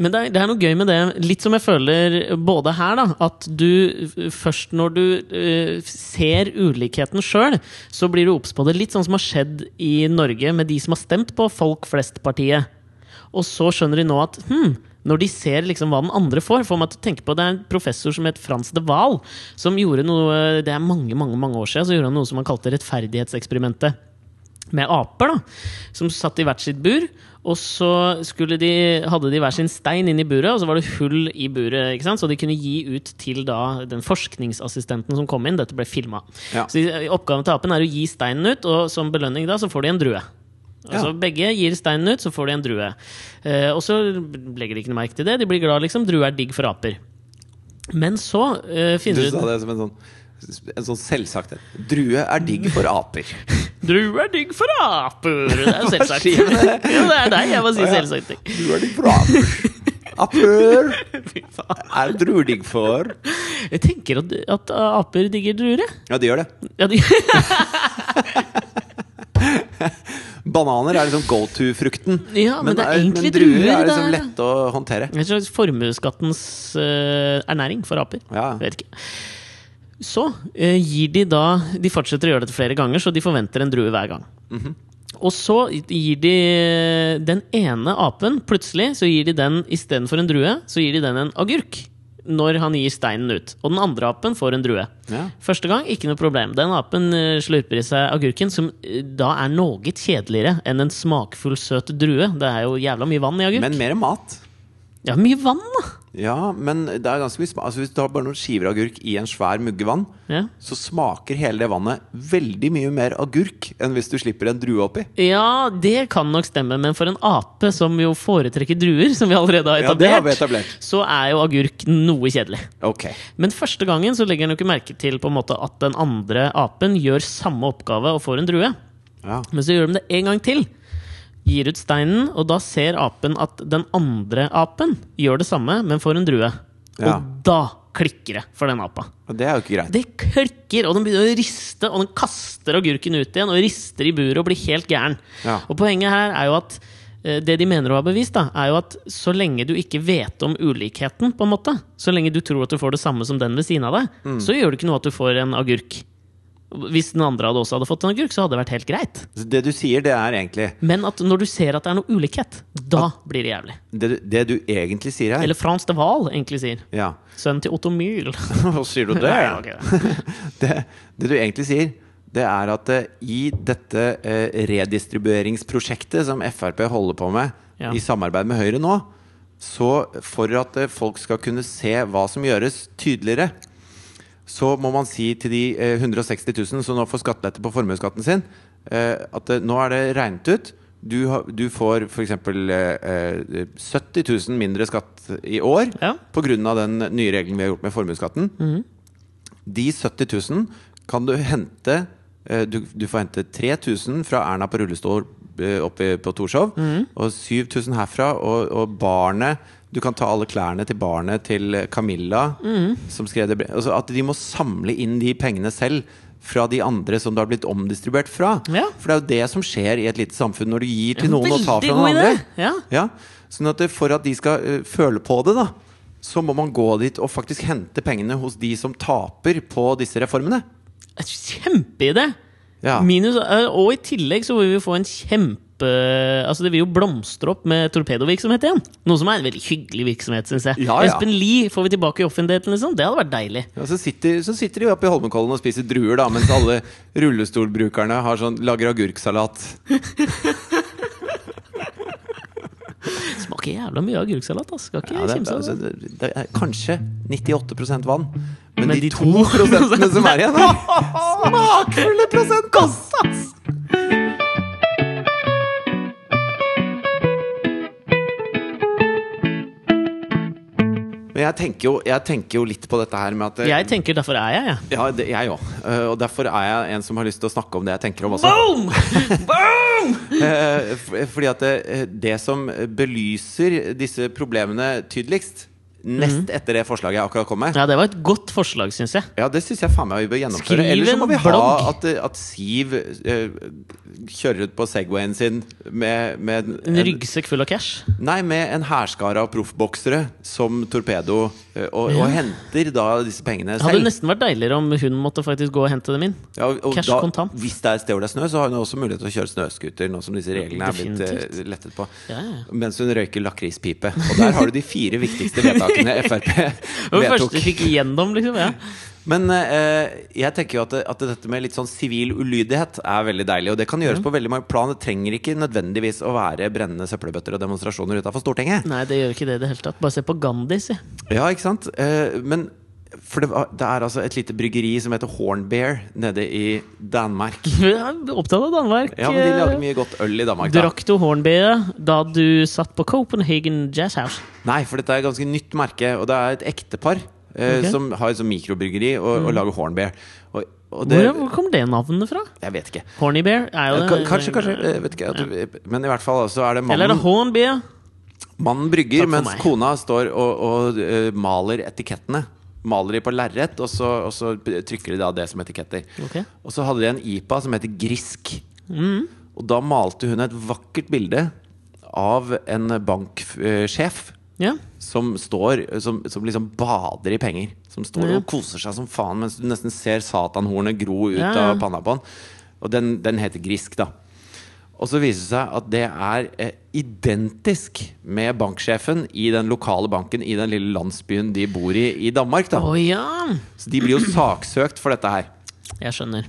[SPEAKER 1] Men det er, det er noe gøy med det, litt som jeg føler både her, da, at du eh, først når du eh, ser ulikheten sjøl, så blir du obs på det. Litt sånn som har skjedd i Norge med de som har stemt på Folk flest-partiet. Og så skjønner de nå at hm, når de ser liksom hva den andre får Får meg til å tenke på Det er en professor som het Frans de Waal, som gjorde noe Det er mange, mange, mange år siden, så gjorde han noe som han kalte rettferdighetseksperimentet med aper, da, som satt i hvert sitt bur. Og så skulle de, hadde de hver sin stein inn i buret, og så var det hull i buret. ikke sant? Så de kunne gi ut til da den forskningsassistenten som kom inn. Dette ble filma.
[SPEAKER 2] Ja.
[SPEAKER 1] Så de- oppgaven til apen er å gi steinen ut, og som belønning da så får de en drue. Altså
[SPEAKER 2] Ja.
[SPEAKER 1] Begge gir steinen ut, så får de en drue. Eh, og så legger de ikke noe merke til det. De blir glad, liksom. Drue er digg for aper. Men så eh,
[SPEAKER 2] Du
[SPEAKER 1] finner
[SPEAKER 2] sa
[SPEAKER 1] ut
[SPEAKER 2] det som en sånn, en sånn selvsagt en. Drue er digg for aper.
[SPEAKER 1] Drue er digg for aper! Det er jo selvsagt.
[SPEAKER 2] sier du det?
[SPEAKER 1] jo, det er deg jeg må si
[SPEAKER 2] Å, ja.
[SPEAKER 1] selvsagt. ting.
[SPEAKER 2] Drue er digg for aper. Aper
[SPEAKER 1] Fy faen.
[SPEAKER 2] er druer digg for
[SPEAKER 1] Jeg tenker at, at aper digger druer, jeg.
[SPEAKER 2] Ja, det gjør det.
[SPEAKER 1] Ja, de,
[SPEAKER 2] Bananer er liksom go to-frukten.
[SPEAKER 1] Ja, men det er egentlig
[SPEAKER 2] druer
[SPEAKER 1] druer,
[SPEAKER 2] er liksom
[SPEAKER 1] det er-
[SPEAKER 2] lette å håndtere.
[SPEAKER 1] en slags formuesskattens eh, ernæring for aper.
[SPEAKER 2] Ja.
[SPEAKER 1] Vet ikke. Så eh, gir de da De fortsetter å gjøre dette flere ganger, så de forventer en drue hver gang. Og så gir de eh, den ene apen plutselig Så gir de den istedenfor en drue, så gir de den en agurk. Når han gir steinen ut. Og den andre apen får en drue.
[SPEAKER 2] Ja.
[SPEAKER 1] Første gang, ikke noe problem. Den apen eh, slurper i seg agurken, som eh, da er noe kjedeligere enn en smakfull, søt drue. Det er jo jævla mye vann i agurk.
[SPEAKER 2] Men mer mat.
[SPEAKER 1] Ja, mye vann, da!
[SPEAKER 2] Ja, men det er ganske mye smak altså, Hvis du tar bare noen skiver agurk i en svær mugge vann
[SPEAKER 1] Ja.
[SPEAKER 2] Så smaker hele det vannet veldig mye mer agurk Enn hvis du slipper en drue oppi
[SPEAKER 1] Ja, det kan nok stemme, men for en ape som jo foretrekker druer, som vi allerede har
[SPEAKER 2] Ja,
[SPEAKER 1] etablert,
[SPEAKER 2] det har vi etablert.
[SPEAKER 1] så er jo agurk noe kjedelig.
[SPEAKER 2] Ok
[SPEAKER 1] Men første gangen så legger han jo ikke merke til på en måte at den andre apen gjør samme oppgave og får en drue.
[SPEAKER 2] ja.
[SPEAKER 1] Men så gjør de det en gang til. Gir ut steinen, og da ser apen at den andre apen gjør det samme, men får en drue.
[SPEAKER 2] Ja.
[SPEAKER 1] Og da klikker det for den apa.
[SPEAKER 2] Og det er jo ikke greit
[SPEAKER 1] Det klikker, og den begynner å riste, og den kaster agurken ut igjen og rister i buret og blir helt gæren.
[SPEAKER 2] Ja.
[SPEAKER 1] Og poenget her er jo at eh, det de mener å ha bevist, da, er jo at så lenge du ikke vet om ulikheten, på en måte, så lenge du tror at du får det samme som den ved siden av deg,
[SPEAKER 2] Mm.
[SPEAKER 1] så gjør det ikke noe at du får en agurk. Hvis den andre hadde også hadde fått en agurk, så hadde det vært helt greit.
[SPEAKER 2] Så det du sier det er egentlig
[SPEAKER 1] Men at når du ser at det er noe ulikhet, da blir det jævlig.
[SPEAKER 2] Det, du- det du egentlig sier her
[SPEAKER 1] Eller Frans de Waal egentlig sier.
[SPEAKER 2] Ja
[SPEAKER 1] Sønnen til Otto Myhl.
[SPEAKER 2] Hva sier du det?
[SPEAKER 1] Ja, ok.
[SPEAKER 2] det, det du egentlig sier, det er at eh, i dette eh, redistribueringsprosjektet som Frp holder på med
[SPEAKER 1] Ja.
[SPEAKER 2] i samarbeid med Høyre nå, så for at eh, folk skal kunne se hva som gjøres tydeligere, så må man si til de eh, 160 000 som nå får skattelette på formuesskatten sin, eh, at eh, nå er det regnet ut. Du, har, du får f.eks. Eh, eh, 70 000 mindre skatt i år
[SPEAKER 1] Ja.
[SPEAKER 2] pga. den nye regelen vi har gjort med formuesskatten. De 70 000 kan du hente eh, Du, du får hente 3000 fra Erna på rullestol eh, oppe på Torshov,
[SPEAKER 1] Mhm.
[SPEAKER 2] og 7000 herfra. Og, og barnet Du kan ta alle klærne til barnet til Camilla,
[SPEAKER 1] Mhm.
[SPEAKER 2] som skrev det bre- altså At de må samle inn de pengene selv. Fra de andre som det har blitt omdistribuert fra.
[SPEAKER 1] Ja.
[SPEAKER 2] For det er jo det som skjer i et lite samfunn når du gir til
[SPEAKER 1] Ja,
[SPEAKER 2] noen og tar
[SPEAKER 1] veldig god
[SPEAKER 2] fra noen
[SPEAKER 1] idé.
[SPEAKER 2] andre.
[SPEAKER 1] Ja.
[SPEAKER 2] Ja, sånn at det- For at de skal eh, føle på det, da så må man gå dit og faktisk hente pengene hos de som taper på disse reformene.
[SPEAKER 1] Kjempeidé!
[SPEAKER 2] Ja.
[SPEAKER 1] Minus, eh, og i tillegg så vil vi få en kjempe Altså Det vil jo blomstre opp med torpedovirksomhet igjen. Noe som er en veldig hyggelig virksomhet, syns jeg.
[SPEAKER 2] Ja, ja.
[SPEAKER 1] Espen Lie får vi tilbake i offentligheten, liksom. Det hadde vært deilig.
[SPEAKER 2] Ja, så, sitter, så sitter de oppe i Holmenkollen og spiser druer, da, mens alle rullestolbrukerne har sånn, lager agurksalat.
[SPEAKER 1] Smaker jævla mye agurksalat, ass. Skal ikke
[SPEAKER 2] Ja, det, er-
[SPEAKER 1] kimse av
[SPEAKER 2] altså,
[SPEAKER 1] det.
[SPEAKER 2] det, det er kanskje 98 vann, men,
[SPEAKER 1] Men
[SPEAKER 2] de,
[SPEAKER 1] de
[SPEAKER 2] to
[SPEAKER 1] to
[SPEAKER 2] prosentene som er igjen, da
[SPEAKER 1] Smakfulle prosentkost, ass!
[SPEAKER 2] Men jeg tenker, jo, jeg tenker jo litt på dette her med at det-
[SPEAKER 1] Jeg tenker derfor er jeg, jeg.
[SPEAKER 2] Ja, det, jeg òg. Og derfor er jeg en som har lyst til å snakke om det jeg tenker om også.
[SPEAKER 1] Boom! Boom!
[SPEAKER 2] Eh, f- Fordi at det, det som belyser disse problemene tydeligst, nest etter det forslaget jeg akkurat kom med
[SPEAKER 1] Ja, det var et godt forslag, syns jeg.
[SPEAKER 2] Ja, det syns jeg faen meg vi bør gjennomføre.
[SPEAKER 1] Skriv
[SPEAKER 2] Eller så må
[SPEAKER 1] en
[SPEAKER 2] vi ha
[SPEAKER 1] blogg.
[SPEAKER 2] at, at Siv eh, kjører ut på Segwayen sin med, med
[SPEAKER 1] En ryggsekk full av cash.
[SPEAKER 2] Nei, med en hærskare av proffboksere som torpedo, eh, og, og henter da disse pengene
[SPEAKER 1] Det hadde
[SPEAKER 2] selv.
[SPEAKER 1] nesten vært deiligere om hun måtte faktisk gå og hente dem inn.
[SPEAKER 2] Ja, og- og
[SPEAKER 1] Cash
[SPEAKER 2] da,
[SPEAKER 1] kontant.
[SPEAKER 2] Hvis det er et sted hvor det er snø, så har hun også mulighet til å kjøre snøscooter. Nå som disse reglene er blitt eh,
[SPEAKER 1] Definitivt.
[SPEAKER 2] lettet på
[SPEAKER 1] Ja, ja.
[SPEAKER 2] Mens hun røyker lakrispipe. Og der har du de fire viktigste vedtakene Frp
[SPEAKER 1] Det var det første
[SPEAKER 2] vedtok.
[SPEAKER 1] vi fikk igjennom, liksom. Ja.
[SPEAKER 2] Men eh, jeg tenker jo at, det- at dette med litt sånn sivil ulydighet er veldig deilig. Og det kan
[SPEAKER 1] Mm.
[SPEAKER 2] gjøres på veldig mange plan. Det trenger ikke nødvendigvis å være brennende søppelbøtter og demonstrasjoner utafor Stortinget.
[SPEAKER 1] Nei, det gjør ikke det i det hele tatt. Bare se på Gandhi, si.
[SPEAKER 2] Ja, ikke sant? Eh, men for det, var- det er altså et lite bryggeri som heter Hornbear nede i Danmark.
[SPEAKER 1] Jeg er Opptatt av Danmark.
[SPEAKER 2] Ja, men de lager mye godt øl i Danmark. Da.
[SPEAKER 1] Drakk du hornbie da du satt på Copenhagen Jazz House?
[SPEAKER 2] Nei, for dette er et ganske nytt merke, og det er et ektepar eh,
[SPEAKER 1] Ok. Mm.
[SPEAKER 2] som har et sånt mikrobryggeri og, og lager hornbeer. Og, og det
[SPEAKER 1] Hvor, hvor kom det navnet fra?
[SPEAKER 2] Jeg vet ikke. Eh,
[SPEAKER 1] Horny Bear? Er jo
[SPEAKER 2] Ka-
[SPEAKER 1] det,
[SPEAKER 2] Kanskje, kanskje. Jeg vet ikke at du, men i hvert fall så er det
[SPEAKER 1] Eller er det
[SPEAKER 2] mannen,
[SPEAKER 1] hornbie?
[SPEAKER 2] mannen
[SPEAKER 1] Takk
[SPEAKER 2] brygger,
[SPEAKER 1] for
[SPEAKER 2] mens
[SPEAKER 1] meg.
[SPEAKER 2] kona står og, og eh, maler etikettene. Maler de på lerret, og, så- og så trykker de da det som etiketter.
[SPEAKER 1] Ok.
[SPEAKER 2] Og så hadde de en IPA som heter Grisk.
[SPEAKER 1] Mm.
[SPEAKER 2] Og da malte hun et vakkert bilde av en banksjef.
[SPEAKER 1] Ja.
[SPEAKER 2] som står som, som liksom bader i penger. Som står
[SPEAKER 1] Ja.
[SPEAKER 2] og koser seg som faen mens du nesten ser satanhornet gro ut
[SPEAKER 1] Ja, ja.
[SPEAKER 2] av panna på han. Og den, den heter Grisk, da. Og så viser det seg at det er eh, identisk med banksjefen i den lokale banken i den lille landsbyen de bor i i Danmark.
[SPEAKER 1] Å
[SPEAKER 2] da
[SPEAKER 1] ja!
[SPEAKER 2] Så de blir jo saksøkt for dette her.
[SPEAKER 1] Jeg skjønner.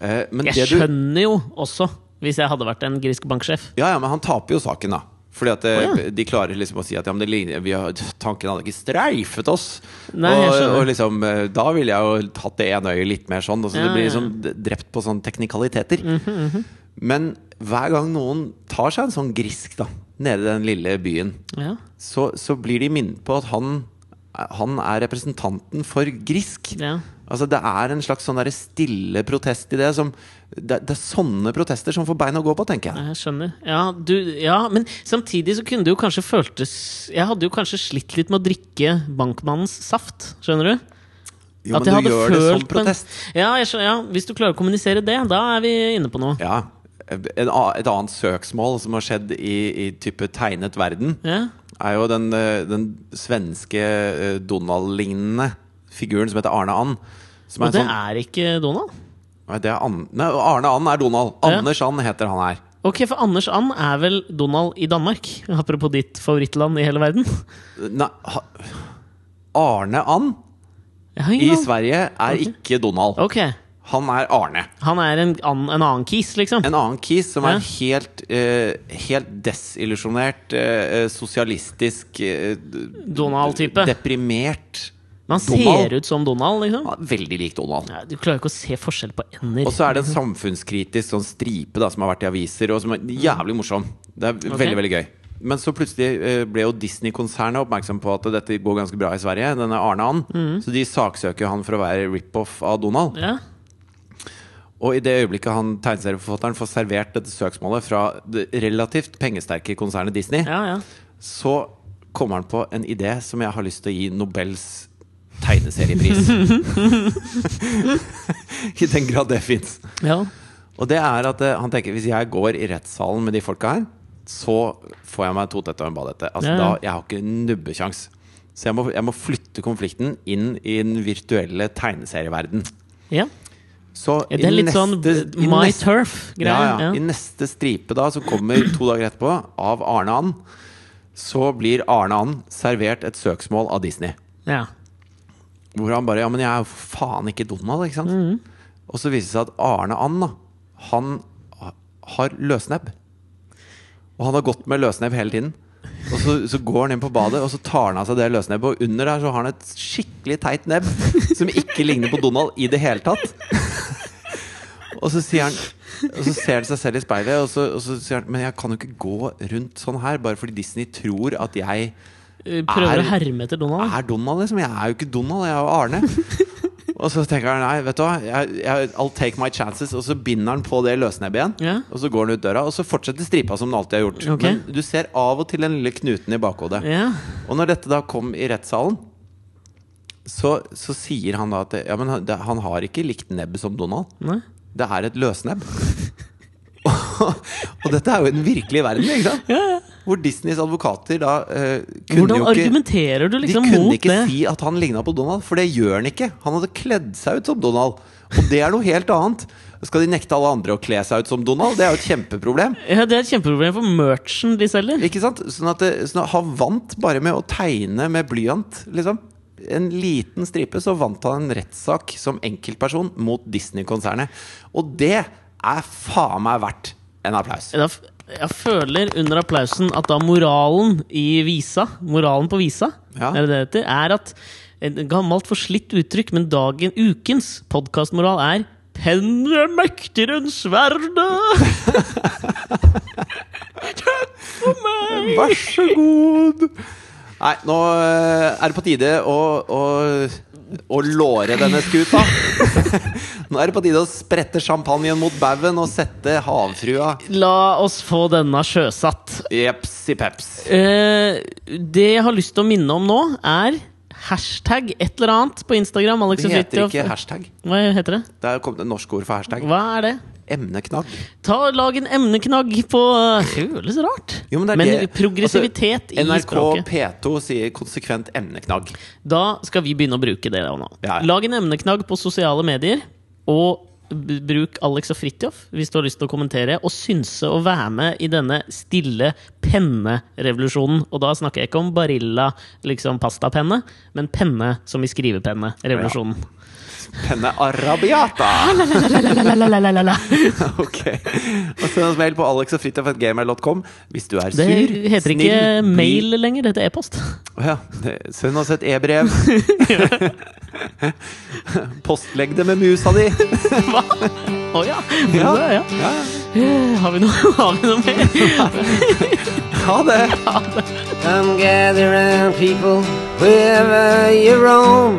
[SPEAKER 2] Eh, men
[SPEAKER 1] Jeg
[SPEAKER 2] det du-
[SPEAKER 1] skjønner jo også, hvis jeg hadde vært en grisk banksjef.
[SPEAKER 2] Ja, ja, men han taper jo saken, da. Fordi at eh,
[SPEAKER 1] Å, ja.
[SPEAKER 2] de klarer liksom å si at ja, men det ligner, vi har, tanken hadde ikke streifet oss.
[SPEAKER 1] Nei, jeg
[SPEAKER 2] og,
[SPEAKER 1] skjønner.
[SPEAKER 2] og liksom, eh, da ville jeg jo tatt det ene øyet litt mer sånn. Og så
[SPEAKER 1] Ja,
[SPEAKER 2] det blir
[SPEAKER 1] ja. Mhm,
[SPEAKER 2] liksom d- drept på sånne teknikaliteter. Men hver gang noen tar seg en sånn grisk, da, nede i den lille byen,
[SPEAKER 1] Ja.
[SPEAKER 2] så, så blir de minnet på at han, han er representanten for grisk.
[SPEAKER 1] Ja.
[SPEAKER 2] Altså Det er en slags sånn derre stille protest i det. Som, det, det er sånne protester som får bein å gå på, tenker jeg.
[SPEAKER 1] Jeg skjønner. Ja, du, ja, men samtidig så kunne det jo kanskje føltes Jeg hadde jo kanskje slitt litt med å drikke bankmannens saft, skjønner du?
[SPEAKER 2] Jo,
[SPEAKER 1] At jeg
[SPEAKER 2] men du
[SPEAKER 1] hadde
[SPEAKER 2] gjør det som
[SPEAKER 1] følt på en-
[SPEAKER 2] protest.
[SPEAKER 1] Ja, jeg skjønner, ja, hvis du klarer å kommunisere det, da er vi inne på noe.
[SPEAKER 2] Ja. En, a- et annet søksmål som har skjedd i, i type tegnet verden,
[SPEAKER 1] Ja.
[SPEAKER 2] er jo den, eh, den svenske eh, Donald-lignende figuren som heter Arne And. Som
[SPEAKER 1] Og
[SPEAKER 2] er
[SPEAKER 1] det
[SPEAKER 2] en sånn,
[SPEAKER 1] er ikke Donald?
[SPEAKER 2] Nei, det er Ann- nei, Arne And er Donald.
[SPEAKER 1] Ja.
[SPEAKER 2] Anders And heter han her.
[SPEAKER 1] Ok, for Anders And er vel Donald i Danmark? Apropos ditt favorittland i hele verden.
[SPEAKER 2] Nei, ha, Arne And
[SPEAKER 1] Jeg har
[SPEAKER 2] i
[SPEAKER 1] ingen aning.
[SPEAKER 2] Sverige er ikke Donald.
[SPEAKER 1] Ok,
[SPEAKER 2] Han er Arne.
[SPEAKER 1] han er en, an, en annen kis, liksom.
[SPEAKER 2] En annen kis som
[SPEAKER 1] Ja.
[SPEAKER 2] er helt, eh, helt desillusjonert, eh, sosialistisk eh, d-
[SPEAKER 1] Donald-type.
[SPEAKER 2] Deprimert.
[SPEAKER 1] Men han
[SPEAKER 2] Donald.
[SPEAKER 1] ser ut som Donald, liksom.
[SPEAKER 2] Ja, Veldig lik Donald.
[SPEAKER 1] Nei, du klarer ikke å se forskjell på ender.
[SPEAKER 2] Og så er det en samfunnskritisk sånn stripe da, som har vært i aviser, og som er jævlig morsom. Det er veldig, veldig gøy. Men så plutselig eh, ble jo Disney-konsernet oppmerksom på at dette går ganske bra i Sverige.
[SPEAKER 1] Mm.
[SPEAKER 2] Denne Arne And. Så de saksøker jo han for å være rip-off av Donald.
[SPEAKER 1] Ja.
[SPEAKER 2] Og i det øyeblikket han tegneserieforfatteren får servert dette søksmålet fra det relativt pengesterke konsernet Disney,
[SPEAKER 1] Ja, ja.
[SPEAKER 2] så kommer han på en idé som jeg har lyst til å gi Nobels tegneseriepris. I den grad det fins.
[SPEAKER 1] ja.
[SPEAKER 2] Og det er at eh, han tenker hvis jeg går i rettssalen med de folka her, så får jeg meg to tette og en badehette. Altså,
[SPEAKER 1] Ja,
[SPEAKER 2] da,
[SPEAKER 1] ja.
[SPEAKER 2] Jeg har ikke nubbekjangs. Så jeg må, jeg må flytte konflikten inn i den virtuelle tegneserieverden.
[SPEAKER 1] ja.
[SPEAKER 2] Så
[SPEAKER 1] Det er
[SPEAKER 2] i
[SPEAKER 1] litt sånn
[SPEAKER 2] neste- i
[SPEAKER 1] My
[SPEAKER 2] neste-
[SPEAKER 1] Turf-greie.
[SPEAKER 2] ja, ja.
[SPEAKER 1] Ja,
[SPEAKER 2] I neste stripe da, som kommer to dager etterpå, av Arne And, så blir Arne And servert et søksmål av Disney.
[SPEAKER 1] ja.
[SPEAKER 2] Hvor han bare Ja, men jeg er jo for faen ikke Donald, ikke sant? Og så viser det seg at Arne And, da, han ha- har løsnebb. Og han har gått med løsnebb hele tiden. Og så, så går han inn på badet, og så tar han av seg det løsnebbet. Og under der så har han et skikkelig teit nebb som ikke ligner på Donald i det hele tatt. Og så sier han Og så ser han seg selv i speilet, og så, og så sier han Men jeg kan jo ikke gå rundt sånn her bare fordi Disney tror at jeg
[SPEAKER 1] Prøver
[SPEAKER 2] Er-
[SPEAKER 1] å herme etter Donald.
[SPEAKER 2] er Donald, liksom. Jeg er jo ikke Donald, jeg er jo Arne. Og så tenker han nei, vet du hva, jeg, jeg, I'll take my chances. Og så binder han på det løsnebbet igjen.
[SPEAKER 1] Ja.
[SPEAKER 2] Og så går han ut døra, og så fortsetter stripa som den alltid har gjort.
[SPEAKER 1] Ok.
[SPEAKER 2] Men du ser av og til den lille knuten i bakhodet.
[SPEAKER 1] Ja.
[SPEAKER 2] Og når dette da kom i rettssalen, så, så sier han da at det- ja, men han, det, han har ikke likt nebb som Donald.
[SPEAKER 1] Nei.
[SPEAKER 2] Det er et løsnebb. og, og dette er jo den virkelige verden, ikke sant? Hvor Disneys advokater da eh, kunne
[SPEAKER 1] Hvordan
[SPEAKER 2] jo ikke
[SPEAKER 1] argumenterer du liksom
[SPEAKER 2] de kunne
[SPEAKER 1] mot
[SPEAKER 2] ikke
[SPEAKER 1] det?
[SPEAKER 2] si at han ligna på Donald, for det gjør han ikke. Han hadde kledd seg ut som Donald, og det er noe helt annet. Skal de nekte alle andre å kle seg ut som Donald? Det er jo et kjempeproblem.
[SPEAKER 1] Ja, Det er et kjempeproblem for merchen de selger.
[SPEAKER 2] Ikke sant? Sånn at, det- sånn at han vant bare med å tegne med blyant, liksom. En liten stripe, så vant han en rettssak som enkeltperson mot Disney-konsernet. Og det er faen meg verdt en applaus.
[SPEAKER 1] Da, f- jeg føler under applausen at da moralen i visa, moralen på visa,
[SPEAKER 2] Ja.
[SPEAKER 1] er det det heter, er at et gammelt forslitt uttrykk, men dagen, ukens podkastmoral er Penner mektigere enn sverdet! Takk for meg!
[SPEAKER 2] Vær så god! Nei, nå eh, er det på tide å, å, å låre denne skuta. Nå er det på tide å sprette champagnen mot baugen og sette havfrua
[SPEAKER 1] La oss få denne sjøsatt.
[SPEAKER 2] jepsi peps.
[SPEAKER 1] Eh, det jeg har lyst til å minne om nå, er hashtag et eller annet på Instagram. Alex
[SPEAKER 2] Det
[SPEAKER 1] og
[SPEAKER 2] heter
[SPEAKER 1] Fridtjof.
[SPEAKER 2] ikke hashtag.
[SPEAKER 1] Hva heter det?
[SPEAKER 2] Det er kommet et norsk ord for hashtag.
[SPEAKER 1] Hva er det?
[SPEAKER 2] Emneknagg.
[SPEAKER 1] Ta og Lag en emneknagg på Det føles rart.
[SPEAKER 2] Jo, men det er det-
[SPEAKER 1] progressivitet i
[SPEAKER 2] NRK
[SPEAKER 1] språket.
[SPEAKER 2] P2 sier konsekvent emneknagg.
[SPEAKER 1] Da skal vi begynne å bruke det da nå.
[SPEAKER 2] Ja, ja.
[SPEAKER 1] Lag en emneknagg på sosiale medier. Og b- bruk Alex og Fridtjof hvis du har lyst til å kommentere. Og synse og være med i denne stille pennerevolusjonen. Og da snakker jeg ikke om Barilla liksom pastapenne, men penne som i skrivepenne-revolusjonen.
[SPEAKER 2] Penne arabiata!
[SPEAKER 1] La-la-la-la-la-la-la.
[SPEAKER 2] Ok. Og send oss mail på alexogfritjofgamer.com hvis du er sur,
[SPEAKER 1] Det heter ikke
[SPEAKER 2] snill, blid,
[SPEAKER 1] mail lenger, det heter e-post.
[SPEAKER 2] Å ja. det- Send oss et e-brev. Postlegg det med musa di.
[SPEAKER 1] Hva? Å ja.
[SPEAKER 2] Ja.
[SPEAKER 1] Ja, ja.
[SPEAKER 2] Ja.
[SPEAKER 1] Eh, Har vi noe, har vi noe mer?
[SPEAKER 2] Ha det!
[SPEAKER 4] Come gather round, people, wherever you roam,